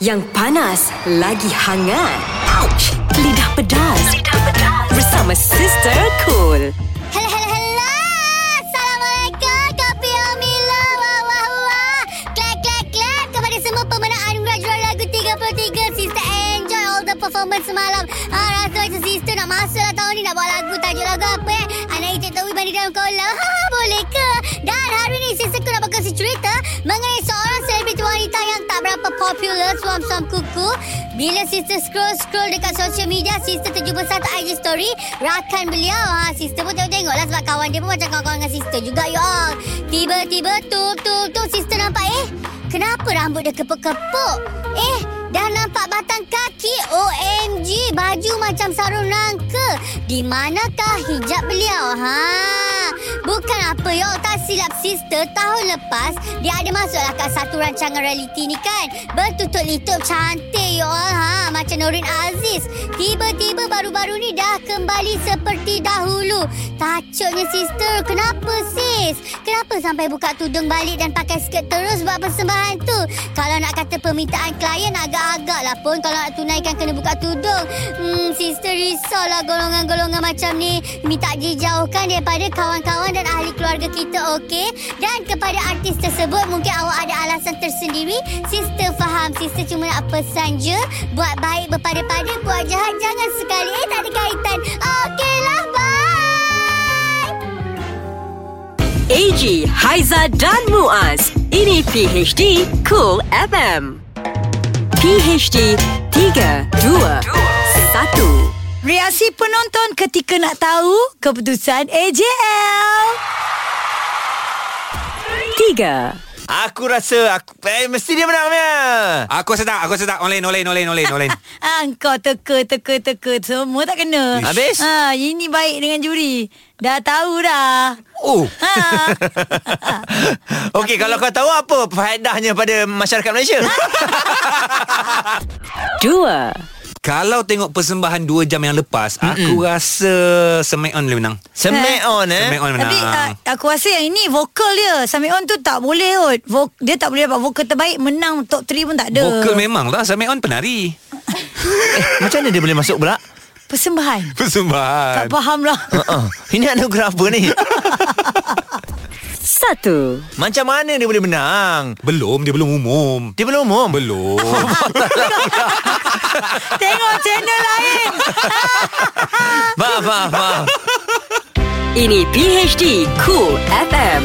Yang panas, lagi hangat. Ouch. Lidah pedas. Lidah pedas. Bersama Sister Cool. Hello, hello, hello. Assalamualaikum. Kopi Omila. Wah, wah, wah. Clap, clap, clap. Kepada semua pemenang anugerah juara lagu 33. Sister enjoy all the performance semalam. Ah, rasa macam sister nak masuk lah tahun ni. Nak buat lagu. Tajuk lagu apa eh? Anak Ijik Tawi mandi dalam kolam. Ha, ha, boleh ke? Dan hari ni sister aku nak berkongsi cerita mengenai seorang selebriti wanita yang tak berapa popular suam-suam kuku. Bila sister scroll-scroll dekat social media, sister terjumpa satu IG story rakan beliau. Ha, sister pun tengok-tengok lah sebab kawan dia pun macam kawan-kawan dengan sister juga you all. Tiba-tiba tu tu tu sister nampak eh. Kenapa rambut dia kepuk-kepuk? Eh, dah nampak batang kaki. OMG, baju macam sarung rangka. Di manakah hijab beliau? Ha, bukan apa yo, tak silap sister tahun lepas dia ada masuklah kat satu rancangan reality ni kan. Bertutup litup cantik yo all ha, macam Norin Aziz. Tiba-tiba baru-baru ni dah kembali seperti dahulu. Takutnya sister, kenapa sis? Kenapa sampai buka tudung balik dan pakai skirt terus buat persembahan tu? Kalau nak kata permintaan klien agak-agak lah pun kalau nak tunaikan kena buka tudung. Hmm, sister risaulah golongan-golongan macam ni. Minta dijauhkan daripada kawan-kawan dan ahli keluarga kita, okey? Dan kepada artis tersebut, mungkin awak ada alasan tersendiri. Sister faham. Sister cuma nak pesan je. Buat baik berpada-pada, buat jahat jangan sekali. Eh, tak ada kaitan. Okeylah, bye! AG, Haiza dan Muaz. Ini PHD Cool FM. PHD 3, 2, 1. Reaksi penonton ketika nak tahu keputusan AJL. 3. Aku rasa aku, eh, mesti dia menang punya. Aku rasa tak, aku rasa tak. Online, online, online, online, online. Ah, kau teka, teka, teka. Semua tak kena. Ish. Habis? Ah, ini baik dengan juri. Dah tahu dah. Oh. Ha. Okey, kalau kau tahu apa faedahnya pada masyarakat Malaysia? Ha? Dua. Kalau tengok persembahan 2 jam yang lepas, Mm-mm. aku rasa Smackdown boleh menang. Semek on eh. Semek on. Tapi menang. uh, aku rasa yang ini vokal dia. Samion tu tak boleh kot. Vok- dia tak boleh dapat vokal terbaik. Menang top 3 pun tak ada. Vokal memanglah Smackdown penari. Macam mana dia boleh masuk pula? Persembahan. Tak Persembahan. faham lah. Uh, ini anugerah apa ni? Satu. Macam mana dia boleh menang? Belum, dia belum umum. Dia belum umum. Belum. Tengok channel lain. Faham, faham, faham. Ini PHD Cool FM.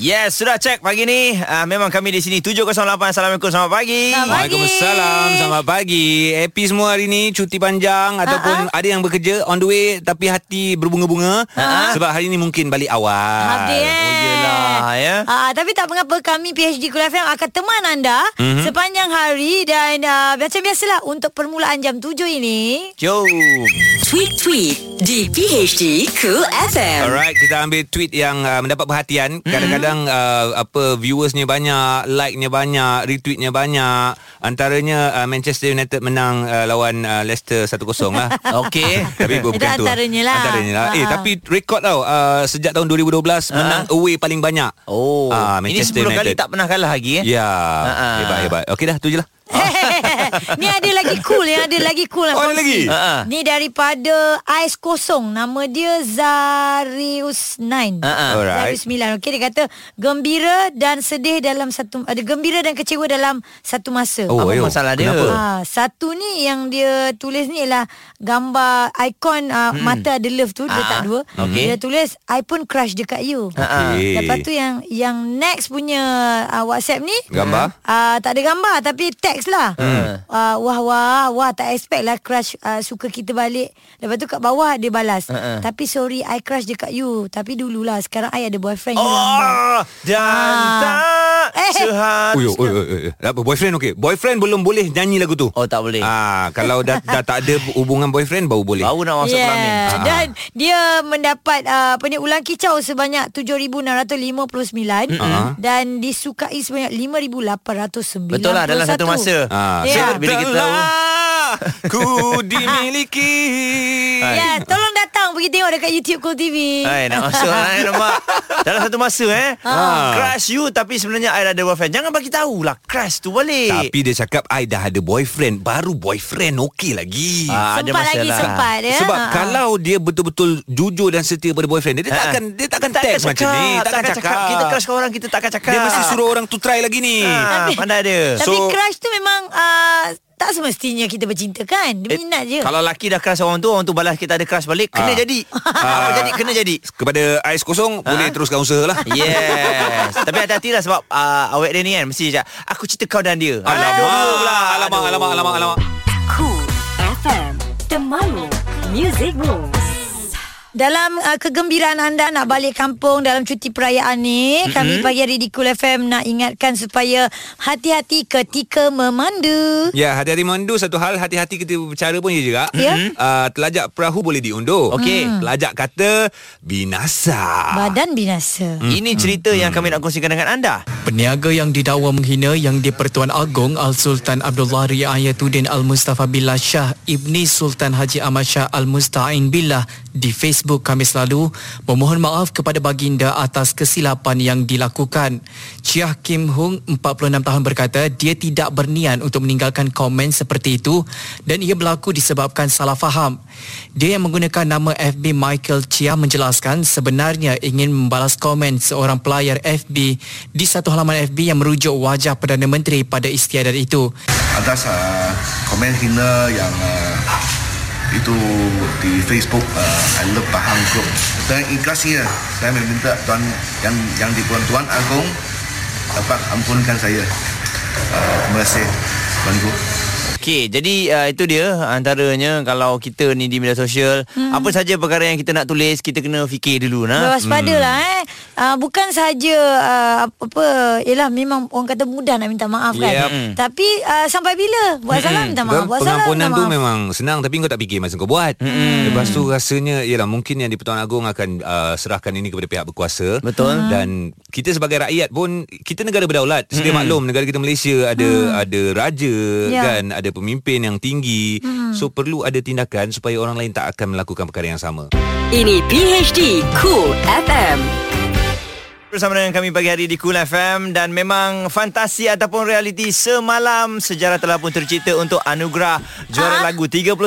Yes, sudah cek pagi ni. Uh, memang kami di sini 708. Assalamualaikum, selamat pagi. Selamat pagi. Waalaikumsalam Selamat pagi Happy semua hari ni Cuti panjang Ataupun Ah, ada yang bekerja On the way Tapi hati berbunga-bunga Sebab hari ni mungkin balik awal Ah, Habis eh. Oh, yelah, ya. Ah, tapi tak mengapa kami PHD Kul FM akan teman anda Mhm. mm-hmm. sepanjang hari dan ah, macam biasalah untuk permulaan jam 7 ini. Jom. Tweet Tweet di PHD Cool FM. Alright, kita ambil tweet yang uh, mendapat perhatian. Mm-hmm. Kadang-kadang uh, apa viewersnya banyak, like-nya banyak, retweetnya banyak. Antaranya uh, Manchester United menang uh, lawan uh, Leicester 1-0 lah. Okey. tapi bukan Itu tu. antaranya lah. Antaranya lah. Eh, Ha-ha. tapi rekod tau uh, sejak tahun 2012 menang away paling banyak. Oh, Ah, ini 10 Manchester kali United. tak pernah kalah lagi eh. Ya, Ha-ha. hebat hebat. Okey dah, tu je lah. ni ada lagi cool Yang ada lagi cool nak Oh, ada kongsi. lagi? Ha-ha. Ni daripada Ais Kosong Nama dia Zarius 9 Ha-ha. Alright. Zarius 9 Okey dia kata Gembira dan sedih dalam satu ada Gembira dan kecewa dalam satu masa Oh, Apa ayo. masalah dia? Kenapa? Ha, satu ni yang dia tulis ni ialah gambar ikon uh, hmm. mata ada love tu dia Ah, tak dua. okey. Dia tulis I pun crush dekat you. Okey. Lepas tu yang yang next punya uh, WhatsApp ni Gambar? Uh, tak ada gambar tapi teks lah. Hmm. Uh, wah wah wah tak expect lah crush uh, suka kita balik. Lepas tu kat bawah dia balas. Ha-ha. Tapi sorry I crush dekat you. Tapi dululah sekarang I ada boyfriend you lambat." Oh, dan Ah. tak Eh. sehat. Uyo, uyo, kan? uyo, uyo. Tak Apa boyfriend okey. Boyfriend belum boleh nyanyi lagu tu. Oh, tak boleh. Ah, kalau dah, dah tak ada hubungan boyfriend baru boleh. Baru nak Ya, masuk Oh, kelamin. Ah. Dan dia mendapat uh, apa ni ulang kicau sebanyak 7659 Ah. dan disukai sebanyak 5891. Betul lah dalam satu masa. lah. Ah. Ya. So, bila kita tahu Setelah ku dimiliki. Ya, tolong datang pergi tengok dekat YouTube Cool TV. Hai, nak masuk hai, nampak Dalam satu masa eh ha. Crush you Tapi sebenarnya I ada boyfriend Jangan bagi tahu lah Crush tu balik Tapi dia cakap I dah ada boyfriend Baru boyfriend okey lagi Ah, ada sempat lagi masalah. sempat ya. Sebab Ah, ah. kalau dia betul-betul jujur dan setia pada boyfriend dia, dia Ha. takkan dia takkan teks macam ni, Takkan cakap. Kita crush kau orang Kita takkan cakap Dia mesti suruh orang tu try lagi ni. ha, Pandai dia Eh, Tapi So- ah. crush tu memang uh, tak semestinya kita bercinta kan. Dia minat Eh, je. Kalau lelaki dah crush orang tu Orang tu balas kita ada crush balik Kena Ah. jadi Apa Ah. jadi Kena jadi Ah. Kepada Ais Kosong Boleh teruskan usaha lah Yes Tapi hati-hati lah sebab uh, Awet dia ni kan Mesti cakap Aku cerita kau dan dia Ah. Aduh Alamak, pula. alamak, Aduh. alamak, alamak, alamak. Cool FM. Temanmu. Music Rules. Dalam uh, kegembiraan anda nak balik kampung dalam cuti perayaan ni, mm-hmm. kami pagi hari di Cool FM nak ingatkan supaya hati-hati ketika memandu. Ya, hati-hati mandu satu hal, hati-hati kita berbicara pun ya juga. Ya. Uh, telajak perahu boleh diundur. Okey. Hmm. Telajak kata binasa. Badan binasa. Mm. Mm. Ini cerita yang kami nak kongsikan dengan anda Hmm. Peniaga yang didakwa menghina yang di-Pertuan Agong Al-Sultan Abdullah Riayatuddin Al-Mustafa Billah Shah Ibni Sultan Haji Ahmad Shah Al-Musta'in Billah di Facebook kami selalu memohon maaf kepada baginda atas kesilapan yang dilakukan. Chiah Kim Hung, 46 tahun berkata dia tidak berniat untuk meninggalkan komen seperti itu dan ia berlaku disebabkan salah faham. Dia yang menggunakan nama FB Michael Chia menjelaskan sebenarnya ingin membalas komen seorang pelayar FB di satu halaman FB yang merujuk wajah Perdana Menteri pada istiadat itu. atas uh, komen hina yang uh, itu di Facebook uh, I Love Pahang Group. Dan ikhlasnya saya meminta tuan yang yang di Puan Tuan Agung dapat ampunkan saya. Uh, terima kasih Tuan Guru. Okey, jadi uh, itu dia antaranya kalau kita ni di media sosial, hmm. apa saja perkara yang kita nak tulis, kita kena fikir dulu nah. Berwaspada hmm. lah Mm. eh. Uh, bukan sahaja uh, apa ialah memang orang kata mudah nak minta maaf kan. Yep. Mm. Tapi uh, sampai bila buat salah minta maaf, buat salah Hmm. Pengampunan minta tu maaf. memang senang Tapi kau tak fikir masa kau buat Hmm. mm. Lepas tu rasanya Yelah mungkin yang di-Pertuan Agong Akan uh, serahkan ini kepada pihak berkuasa Betul Hmm. Dan kita sebagai rakyat pun Kita negara berdaulat Sedia maklum Negara kita Malaysia Ada ada raja Hmm. Ya. Hmm. kan Ada pemimpin yang tinggi So perlu ada tindakan Supaya orang lain tak akan melakukan perkara yang sama Ini PHD Cool FM. Bersama dengan kami pagi hari di Cool FM dan memang fantasi ataupun realiti semalam sejarah telah pun tercipta untuk anugerah juara ah. lagu 33.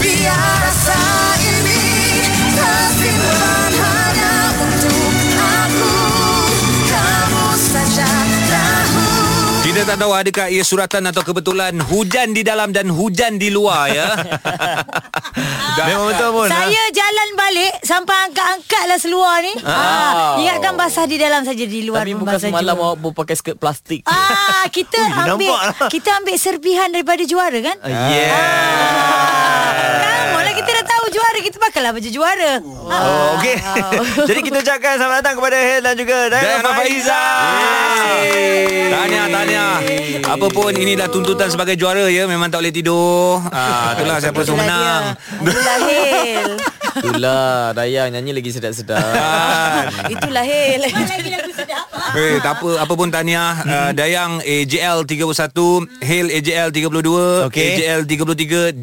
Biar rasa ini tersimpan hanya untuk aku Kamu saja tahu Kita tak tahu adakah ia suratan atau kebetulan Hujan di dalam dan hujan di luar ya memang betul ha? pun. lah. Saya jalan balik sampai angkat-angkatlah seluar ni. Ah, ingatkan basah di dalam saja di luar Tapi pun bukan basah semalam juga. awak berpakai skirt plastik. Ah, kita Ui, ambil nampak lah. kita ambil serbihan daripada juara kan? Ha? Yeah. Kamu lah kita dah tahu juara Kita pakailah baju juara oh. Oh, okey. Jadi kita ucapkan selamat datang kepada Hel dan juga Diana Diana Faiza. Faiza. Tahniah, tahniah. Apa pun inilah tuntutan sebagai juara ya, memang tak boleh tidur. Ah, itulah siapa tu menang. Itulah Hil Itulah, Dayang nyanyi lagi sedap-sedap. Itulah Hil Lagi lagu sedap Kan? Eh, tak apa, apa pun tahniah. Hmm. Uh, Dayang AJL 31, Hale AJL 32, Okey. AJL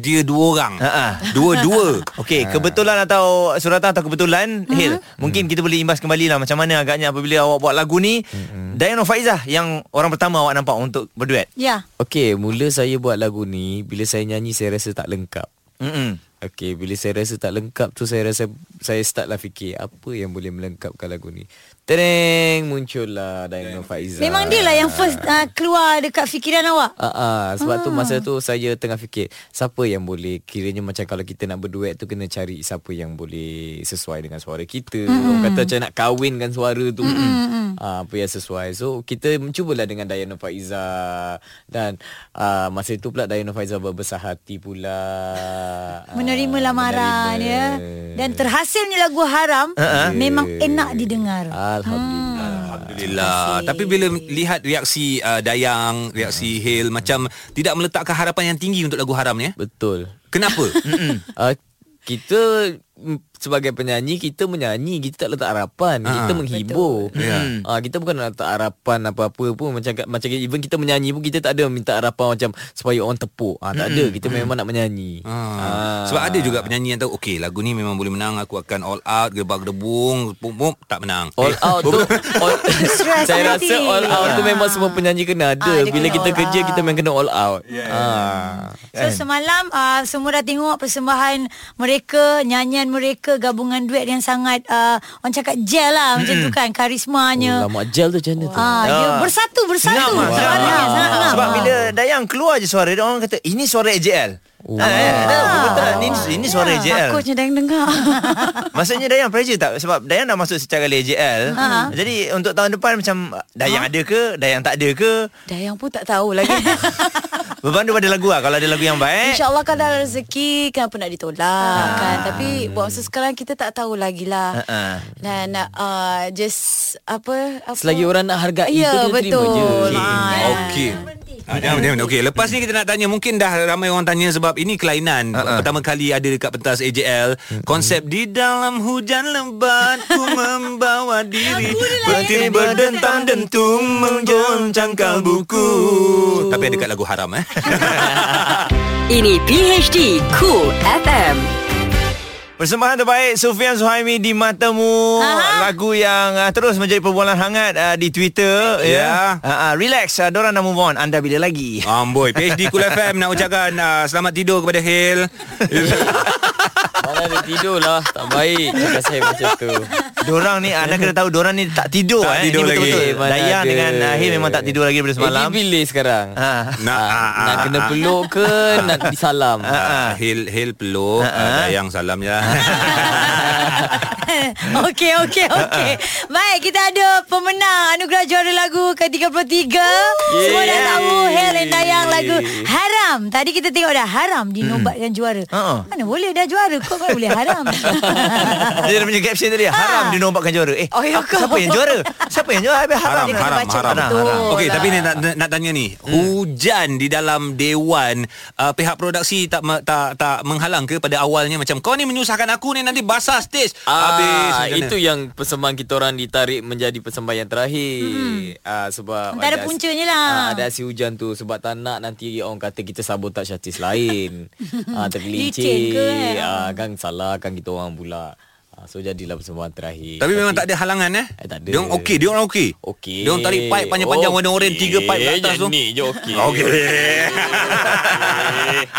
33, dia dua orang. Ha-ha. Dua-dua. Okey, kebetulan atau suratan atau kebetulan mm-hmm. Hil, mungkin Hmm. kita boleh imbas kembali lah macam mana agaknya apabila awak buat lagu ni hmm. mm-hmm. Diana Faiza yang orang pertama awak nampak untuk berduet. Ya Okey, mula saya buat lagu ni, bila saya nyanyi saya rasa tak lengkap. Mm-mm. Okey, bila saya rasa tak lengkap tu saya rasa saya startlah fikir apa yang boleh melengkapkan lagu ni. Tereng muncullah Dayang Faiza. Memang dia lah yang first uh, keluar dekat fikiran awak Ah, ah, sebab tu masa tu saya tengah fikir siapa yang boleh kiranya macam kalau kita nak berduet tu kena cari siapa yang boleh sesuai dengan suara kita. Orang kata macam nak kahwinkan suara tu. Ah, apa yang sesuai. So kita mencubalah dengan Dayana Faiza dan ah, masa tu pula Dayana Faiza berbesar hati pula. Ah, Menerima menerima. lamaran ya Dan terhasilnya lagu haram uh-huh. Memang enak didengar Hmm. Alhamdulillah. Alhamdulillah. Tapi bila lihat reaksi uh, Hmm. Dayang, reaksi Hale macam tidak meletakkan harapan yang tinggi untuk lagu haram ni. eh? Betul. Kenapa? uh, kita mm, sebagai penyanyi kita menyanyi kita tak letak harapan uh kita menghibur yeah. uh, kita bukan nak letak harapan apa-apa pun macam macam even kita menyanyi pun kita tak ada minta harapan macam supaya orang tepuk uh, tak ada kita memang nak menyanyi Ah. Sebab ada juga penyanyi yang tahu Okey lagu ni memang boleh menang Aku akan all out Gebak gedebung Pum pum Tak menang All out tu all, Stress Saya nanti. rasa all out tu Ah. Memang semua penyanyi kena ada Ah, dia Bila kena kita all kerja out. Kita memang kena all out Ah. So semalam uh, semua dah tengok persembahan mereka, nyanyian mereka, gabungan duet yang sangat uh, orang cakap gel lah macam tu kan, Oh, karismanya. Lama gel tu macam mana tu Ah, dia bersatu bersatu. Ngam lah, Suara dia ngam. sangat ngam. Sebab bila Dayang keluar je suara dia orang kata ini suara AJL. Wow. Betul ni Ah, ya. ini suara Ya, AJL. Ah. Takutnya dah yang dengar. Maksudnya Dayang pressure tak sebab Dayang dah masuk secara kali AJL. Ah. Jadi untuk tahun depan macam Dayang ada ke, Dayang tak ada ke? Dayang pun tak tahu lagi. Berpandu pada lagu lah Kalau ada lagu yang baik InsyaAllah kan ada rezeki Kenapa nak ditolak kan Tapi buat masa sekarang Kita tak tahu lagi lah Uh-uh. Dan uh, Just Apa, apa Selagi orang nak hargai Ya, tu, dia terima betul. je. Ah, ya. Okey Ah, jangan berhenti. Okey, lepas ni kita nak tanya mungkin dah ramai orang tanya sebab ini kelainan Ha, uh-uh. pertama kali ada dekat pentas AJL. Konsep di dalam hujan lebat ku membawa diri berdiri berdentang dentung menggon cangkal buku. Tapi ada dekat lagu haram eh. Ini PHD Cool FM. Persembahan terbaik Sufian Suhaimi di matamu Aha. lagu yang uh, terus menjadi perbualan hangat uh, di Twitter ya. Yeah. Ya. Uh, uh, relax uh, dorang dah move on anda bila lagi. Amboi, PhD Kul FM nak ucapkan uh, selamat tidur kepada Hil. Malah dia tidur lah Tak baik Cakap saya macam tu Diorang ni Anda kena tahu Diorang ni tak tidur Tak eh. Ini tidur lagi. betul-betul. Mana Dayang ada. dengan Ahil Memang tak tidur lagi daripada semalam Eh, dia pilih sekarang. ha. Nak, ah, Nak ah, kena ah. peluk ke Nak disalam Ah, Hil Hil peluk ah, Dayang salam je lah okey, okey, okey. Baik, kita ada pemenang anugerah juara lagu ke-33. Semua dah tahu Hel dan Dayang lagu Haram. Tadi kita tengok dah Haram dinobatkan juara. Ha-ha. Mana boleh dah juara kok mana boleh haram. Dia dah punya caption tadi Haram dinobatkan juara Eh Oh, ya apa- ke? siapa yang juara Siapa yang juara Habis haram Haram Haram baca Haram, betul Hmm. haram. lah. Okey tapi ni nak, nak nak tanya ni Hujan di dalam Dewan uh, Pihak produksi tak me- tak tak menghalang ke pada awalnya Macam kau ni menyusahkan aku ni Nanti basah stage Habis Ah, macam mana? itu yang persembahan kita orang ditarik menjadi persembahan yang terakhir. Ah, sebab Tak ada as- puncanya lah. Ah, ada aksi hujan tu sebab tak nak nanti orang kata kita sabotaj artis lain. ah, Licin tergelincir. ke, eh? Ah, kan salah kan kita orang pula. Ah, so jadilah persembahan terakhir. Tapi memang tak ada halangan eh? Eh, tak ada. Dia orang okey, dia orang okey. Okey. Eh, Dia orang tarik pipe panjang-panjang warna oren, tiga pipe kat atas tu. Yang ni je okey. Okey.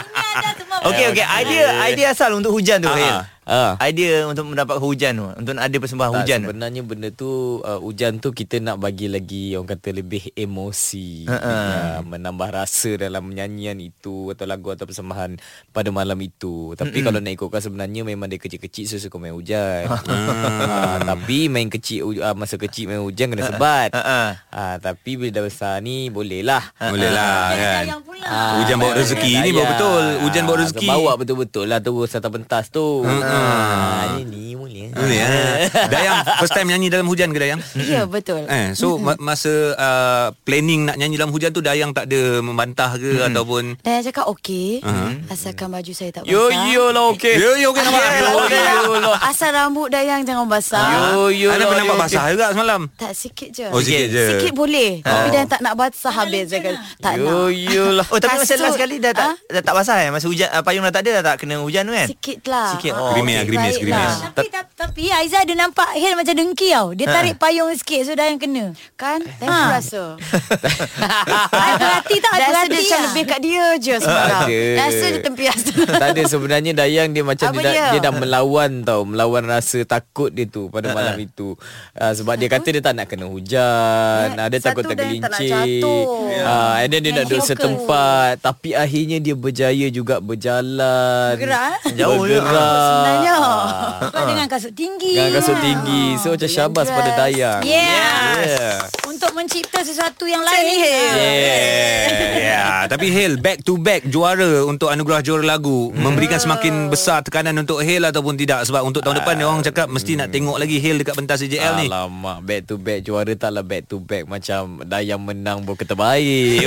Ini ada semua. Okay okay Idea Eh. idea asal untuk hujan tu Ah, Hil ah. Idea untuk mendapat hujan tu Untuk ada persembahan Tak, hujan tu. sebenarnya benda tu uh, hujan tu kita nak bagi lagi orang kata lebih emosi uh, menambah rasa dalam nyanyian itu atau lagu atau persembahan pada malam itu tapi kalau nak ikutkan sebenarnya memang dia kecil-kecil so suka main hujan uh, tapi main kecil uh, masa kecil main hujan kena sebat uh-uh. uh, tapi bila dah besar ni boleh lah Boleh lah kan. Dayang pula. Ah, Hujan bawa rezeki ni bawa dayang. betul. Hujan bawa rezeki. Ha, Bawa betul-betul lah terus atas pentas tu. Ha. Ini ni boleh. Boleh eh. Dayang first time nyanyi dalam hujan ke Dayang? Ya, betul. Eh, so ma- masa uh, planning nak nyanyi dalam hujan tu Dayang tak ada membantah ke ataupun Dan saya cakap okey uh-huh. Asalkan baju saya tak basah Yo yo lah okey. Yo yo kena nampak. Yo yo lah. Asal rambut Dayang jangan basah Yo yo. lah, Ana Ah, pernah nampak yo, basah juga semalam. Ah. Tak sikit je Oh, sikit je. Sikit boleh Tapi Dayang tak nak basah habis saya kata, Tak Ha. Yo nak yo lah. Oh tapi masa Kasut. last kali dah tak Ah? dah tak basah eh masa hujan uh, payung dah tak ada dah tak kena hujan tu kan? Sikit lah Sikit. Ah, Oh. okey, Gerimis lah, gerimis, baik gerimis. lah. Tapi, tapi, tapi Aiza ada nampak Hil macam dengki tau. Ha. Dia tarik payung sikit so Dayang kena. Kan Dayang Ah. ha. rasa I perhati tak? I Rasa dia perhati macam lah. lebih kat dia je Ah, sekarang Ada. Rasa dia tempias tak ada sebenarnya Dayang dia macam Apa dia, dia? dia? dia dah melawan tau melawan rasa takut dia tu pada malam itu uh, sebab dia kata dia tak nak kena hujan Ya, uh, dia takut satu dia tak nak tergelincir jatuh. uh, and then dia nak duduk Fokus. setempat tapi akhirnya dia berjaya juga berjalan Bergerak, eh? Jauh je. bergerak Sebenarnya. Ah. Sebab Ha. dengan kasut tinggi. Ha. Dengan kasut tinggi So macam syabas pada Dayang Yeah. Untuk mencipta sesuatu yang lain. Ha. Yeah. yeah. Tapi Hale back to back juara untuk anugerah juara lagu Hmm. memberikan semakin besar tekanan untuk Hale ataupun tidak sebab untuk Ah. tahun depan orang cakap mesti nak tengok lagi Hale dekat pentas CJL ni. Alamak Back to back Juara taklah back to back Macam Dayang menang Bukan terbaik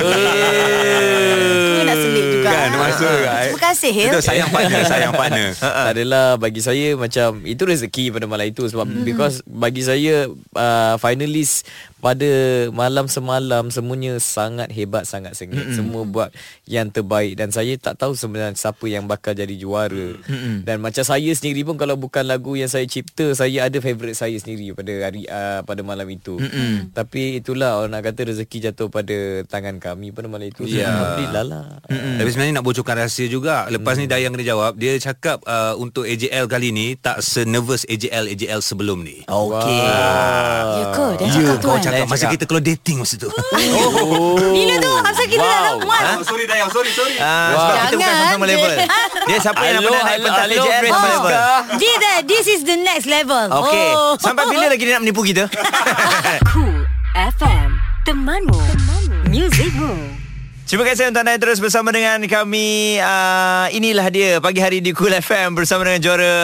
Kena nak selit juga eh? Kan ah. masa kan. Terima kasih Hil Betul sayang partner, sayang partner. Tak adalah bagi saya macam itu rezeki pada malam itu sebab mm. Hmm. because bagi saya uh, finalis pada malam semalam semuanya sangat hebat sangat sengit Hmm. mm semua buat yang terbaik dan saya tak tahu sebenarnya siapa yang bakal jadi juara mm Hmm. dan macam saya sendiri pun kalau bukan lagu yang saya cipta saya ada favourite saya sendiri pada hari uh, pada malam itu Hmm. mm tapi itulah orang nak kata rezeki jatuh pada tangan kami pada malam itu Ya. yeah. alhamdulillah lah Mm. Tapi sebenarnya nak bocorkan rahsia juga. Lepas ni Dayang kena jawab. Dia cakap uh, untuk AJL kali ni tak senervous AJL AJL sebelum ni. Okey. Ya ke Dia Ya, cakap tu kau kan cakap masa kita keluar dating masa tu. Oh. Bila tu Hafsah kita wow. dah muat. sorry Dayang, sorry, sorry. Ah, sebab kita bukan Jangan. sama-sama level. Dia siapa yang nak Hello, pernah naik hello, pentas hello, AJL sama Francesca. level. This, this is the next level. Okey. Oh. Sampai bila lagi dia nak menipu kita? Cool FM. Temanmu. Temanmu. Musicmu. Terima kasih untuk anda yang terus bersama dengan kami. Uh, inilah dia pagi hari di Cool FM bersama dengan juara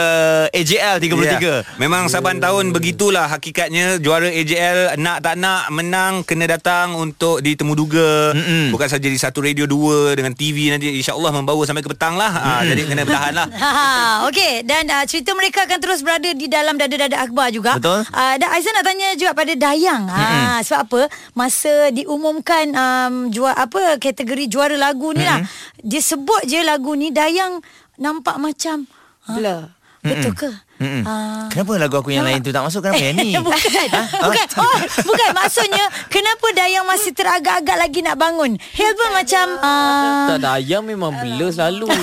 AJL 33. Yeah. Ya. Memang saban tahun begitulah hakikatnya juara AJL nak tak nak menang kena datang untuk ditemuduga Mm-mm. bukan saja di satu radio dua dengan TV nanti insyaallah membawa sampai ke petang lah ha, jadi kena bertahan lah Ha, okay dan uh, cerita mereka akan terus berada di dalam dada-dada akhbar juga. Betul. Uh, dan Aizan nak tanya juga pada Dayang. Ha, mm-hmm. sebab apa? Masa diumumkan um, juara apa kategori juara lagu ni lah. Mm-hmm. Dia sebut je lagu ni Dayang nampak macam ha, Blur betul ke? Ah. Mm-mm. Kenapa lagu aku yang lain tu tak masuk? Kenapa yang ni? Ha? bukan. bukan. Oh, bukan. Maksudnya, kenapa Dayang masih teragak-agak lagi nak bangun? Hilbun macam... Uh, Tak ada ayam memang blur selalu.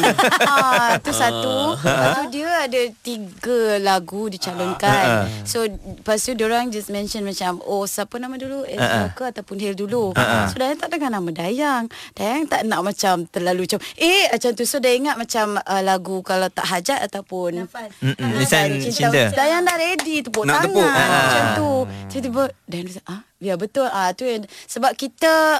Ah. Ah, tu satu Lepas tu dia ada tiga lagu dicalonkan So Lepas tu diorang just mention macam Oh siapa nama dulu Elsa ke ataupun Hil dulu So Dayang tak dengar nama Dayang Dayang tak nak macam terlalu macam Eh macam tu So dia ingat macam uh, lagu Kalau tak hajat ataupun Mm-mm. Nisan cinta. Dayang dah ready Tepuk Nak tangan tepuk. Macam tu Tiba-tiba Dayang rasa ah, Ya betul ah, tu yang, Sebab kita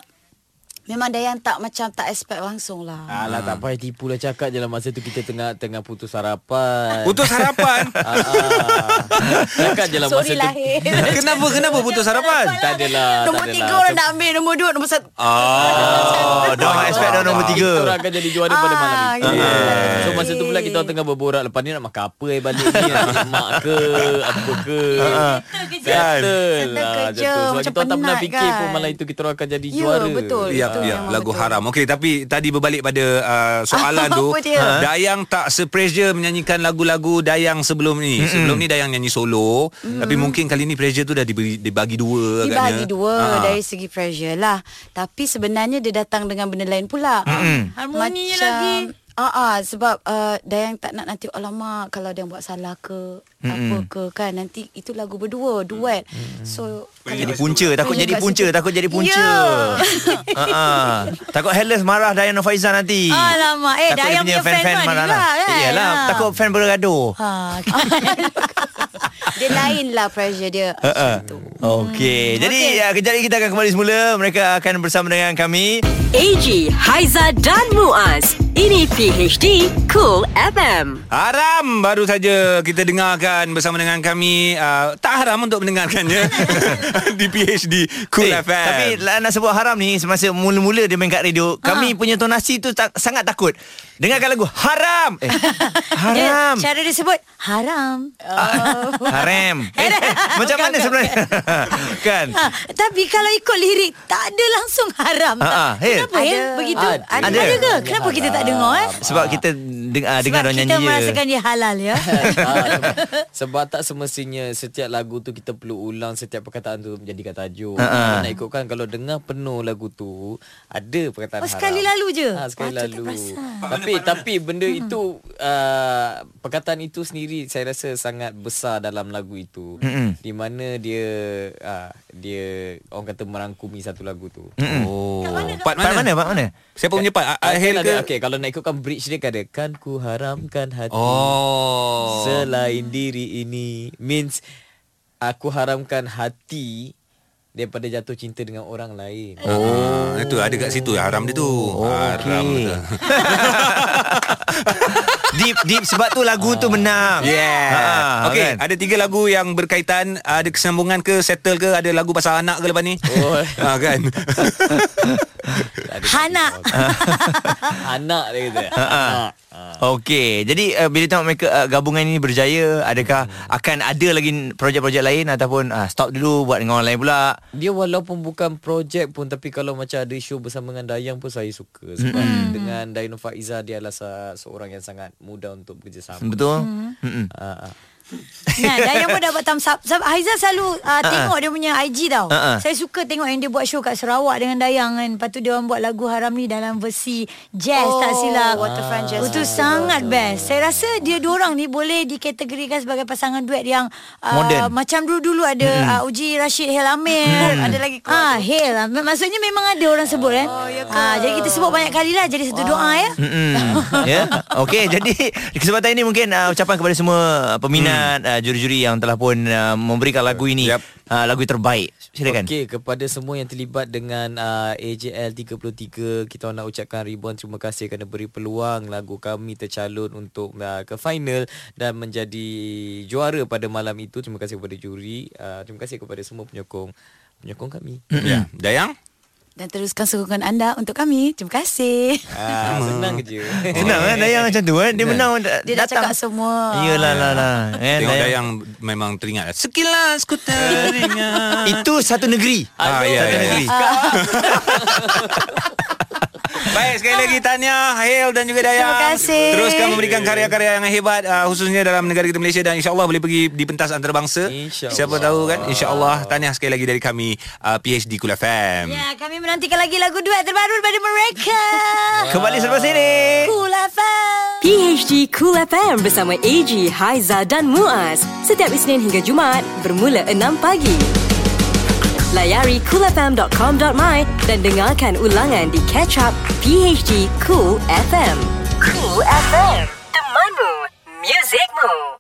Memang Dayang tak macam Tak expect langsung lah Alah tak payah tipu lah cakap je lah masa tu kita tengah tengah putus harapan. Putus harapan. Ah, ah. Cakap je lah masa Sorry tu. lah Hil kenapa kenapa putus harapan? Tak lah. adalah. Nombor tak lah. tiga adalah. orang nak ambil Nombor dua Nombor satu Oh, dah expect dah nombor tiga. Ah. Kita orang akan jadi juara pada malam Ah, itu. yeah. So masa tu pula kita orang tengah berborak lepas ni nak makan apa eh balik ni nak makan mak ke apa ke. Ah, Settle lah Settle macam kerja, tu. macam Sebab kita orang tak pernah penat fikir pun kan. malam itu kita orang akan jadi Ya, juara. betul. Ya, Betul, ya, memang lagu betul. haram. Okey, tapi tadi berbalik pada uh, soalan Apa tu. dia? Ha? Dayang tak se-pressure menyanyikan lagu-lagu Dayang sebelum ni. Mm-hmm. Sebelum ni Dayang nyanyi solo, mm-hmm. tapi mungkin kali ni pressure tu dah diberi, dibagi dua kan Dibagi agaknya. dua Ah. Dari segi pressure lah Tapi sebenarnya Dia datang dengan benda lain pula Harmoni lagi. Ah, ah, sebab uh, Dayang tak nak nanti Alamak kalau dia buat salah ke Apa ke kan Nanti itu lagu berdua Duet So Takut jadi punca Takut jadi punca Takut jadi punca Ya. yeah. Takut Hellas marah Dayana Faizan nanti Ah, lah. Alamak. Eh, Takut dia Dayang punya fan pun ada juga, kan? Yalah Ha. Takut fan bergaduh Ha, Dia lain lah pressure dia Uh-uh. Okey. Jadi okay. kejap lagi kita akan kembali semula. Mereka akan bersama dengan kami. AG, Haiza dan Muaz. Ini PHD Cool FM. Haram baru saja kita dengarkan bersama dengan kami uh, tak haram untuk mendengarkannya di PhD Cool Eh, hey, FM. Tapi lah, nak sebut haram ni semasa mula-mula dia main kat radio, kami punya tonasi tu tak, sangat takut. Dengarkan lagu haram. Eh, haram. Dia, cara dia sebut, haram. haram. Eh, macam mana sebenarnya? kan? Ha, tapi kalau ikut lirik tak ada langsung haram. Ha, tak? ha, Hil. Kenapa Hil Ada. begitu? Ada. Ada, Ada. ada ke? Kenapa kita tak dengar eh? Sebab kita deng- ah, dengar Sebab orang kita nyanyi je. merasakan dia halal ya. Ah, sebab- sebab tak semestinya setiap lagu tu kita perlu ulang setiap perkataan tu menjadikan tajuk. Ha-ha. Kita nak ikutkan kalau dengar penuh lagu tu ada perkataan Oh, haram. sekali lalu je? Ha, sekali Patut tak lalu. perasan. Tapi tapi benda itu uh, perkataan itu sendiri saya rasa sangat besar dalam lagu itu. Mm-mm. Di mana dia uh, dia orang kata merangkumi satu lagu tu. oh. Part mana? Part mana? Part mana? Siapa punya part? Ah, Ahil Kan ke? ada- Okey, kalau nak ikutkan bridge dia kan ada kan ku haramkan hati. Oh. Selain diri ini Means Aku haramkan hati Daripada jatuh cinta dengan orang lain Oh, itu ada kat situ haram dia tu. Oh, haram okey. betul. Deep, deep. Sebab tu lagu tu menang. Oh. Yeah. Ha, kan? okay, ada tiga lagu yang berkaitan ada kesambungan ke settle ke ada lagu pasal anak ke lepas ni? Oh. ha, kan. Hana. Anak dia kata Ha. Ah. Okey, jadi uh, bila tengok mereka uh, gabungan ini berjaya, adakah Hmm. akan ada lagi projek-projek lain ataupun uh, stop dulu buat dengan orang lain pula? Dia walaupun bukan projek pun Tapi kalau macam ada show bersama dengan Dayang pun Saya suka Sebab mm. dengan Dayang Faiza Dia adalah sa- seorang yang sangat mudah Untuk bekerjasama Betul? Mm-mm. Ah, ah. Nah, Dayang pun dapat thumbs up. Sebab Haiza selalu uh, tengok dia punya IG tau. Ha-ha. Saya suka tengok yang dia buat show kat Sarawak dengan Dayang kan. Lepas tu dia orang buat lagu haram ni dalam versi jazz tak silap. Waterfront Jazz Itu sangat best. Saya rasa dia dua orang ni boleh dikategorikan sebagai pasangan duet yang uh, Modern. macam dulu-dulu ada uh, Uji Rashid Helamir. ada lagi Ah, Hel. Maksudnya memang ada orang sebut eh. Oh, ya ah, jadi kita sebut banyak kali lah jadi satu doa ya. Mm-mm. Ya. Okey, jadi di kesempatan ini mungkin uh, ucapan kepada semua uh, peminat Hmm. uh, juri-juri yang telah pun uh, memberikan lagu ini Yap. uh, lagu terbaik. Silakan. Okey, kepada semua yang terlibat dengan uh, AJL 33, kita nak ucapkan ribuan terima kasih kerana beri peluang lagu kami tercalon untuk uh, ke final dan menjadi juara pada malam itu. Terima kasih kepada juri, uh, terima kasih kepada semua penyokong penyokong kami. ya, Dayang? Dan teruskan sokongan anda Untuk kami Terima kasih Ah, senang je. Senang kan Dayang macam tu kan Dia menang dia Dia dah cakap semua Iyalah lah lah kan, Tengok Dayang. Dayang memang teringat. Sekilas ku teringat. Itu satu negeri Ah, ya, Satu ya, ya. negeri Baik sekali lagi Tanya, Hail dan juga Dayang. Terima kasih. Teruskan memberikan karya-karya yang hebat uh, khususnya dalam negara kita Malaysia dan insya-Allah boleh pergi di pentas antarabangsa. InsyaAllah. Siapa tahu kan insya-Allah Tahniah sekali lagi dari kami uh, PhD Kul FM. Ya, kami menantikan lagi lagu duet terbaru daripada mereka. Kembali selepas ini. Cool FM. PHD Cool FM bersama AG, Haiza dan Muaz. Setiap Isnin hingga Jumaat bermula 6 pagi. Layari coolfm.com.my dan dengarkan ulangan di Catch Up PHD Cool FM. Cool FM, temanmu, muzikmu.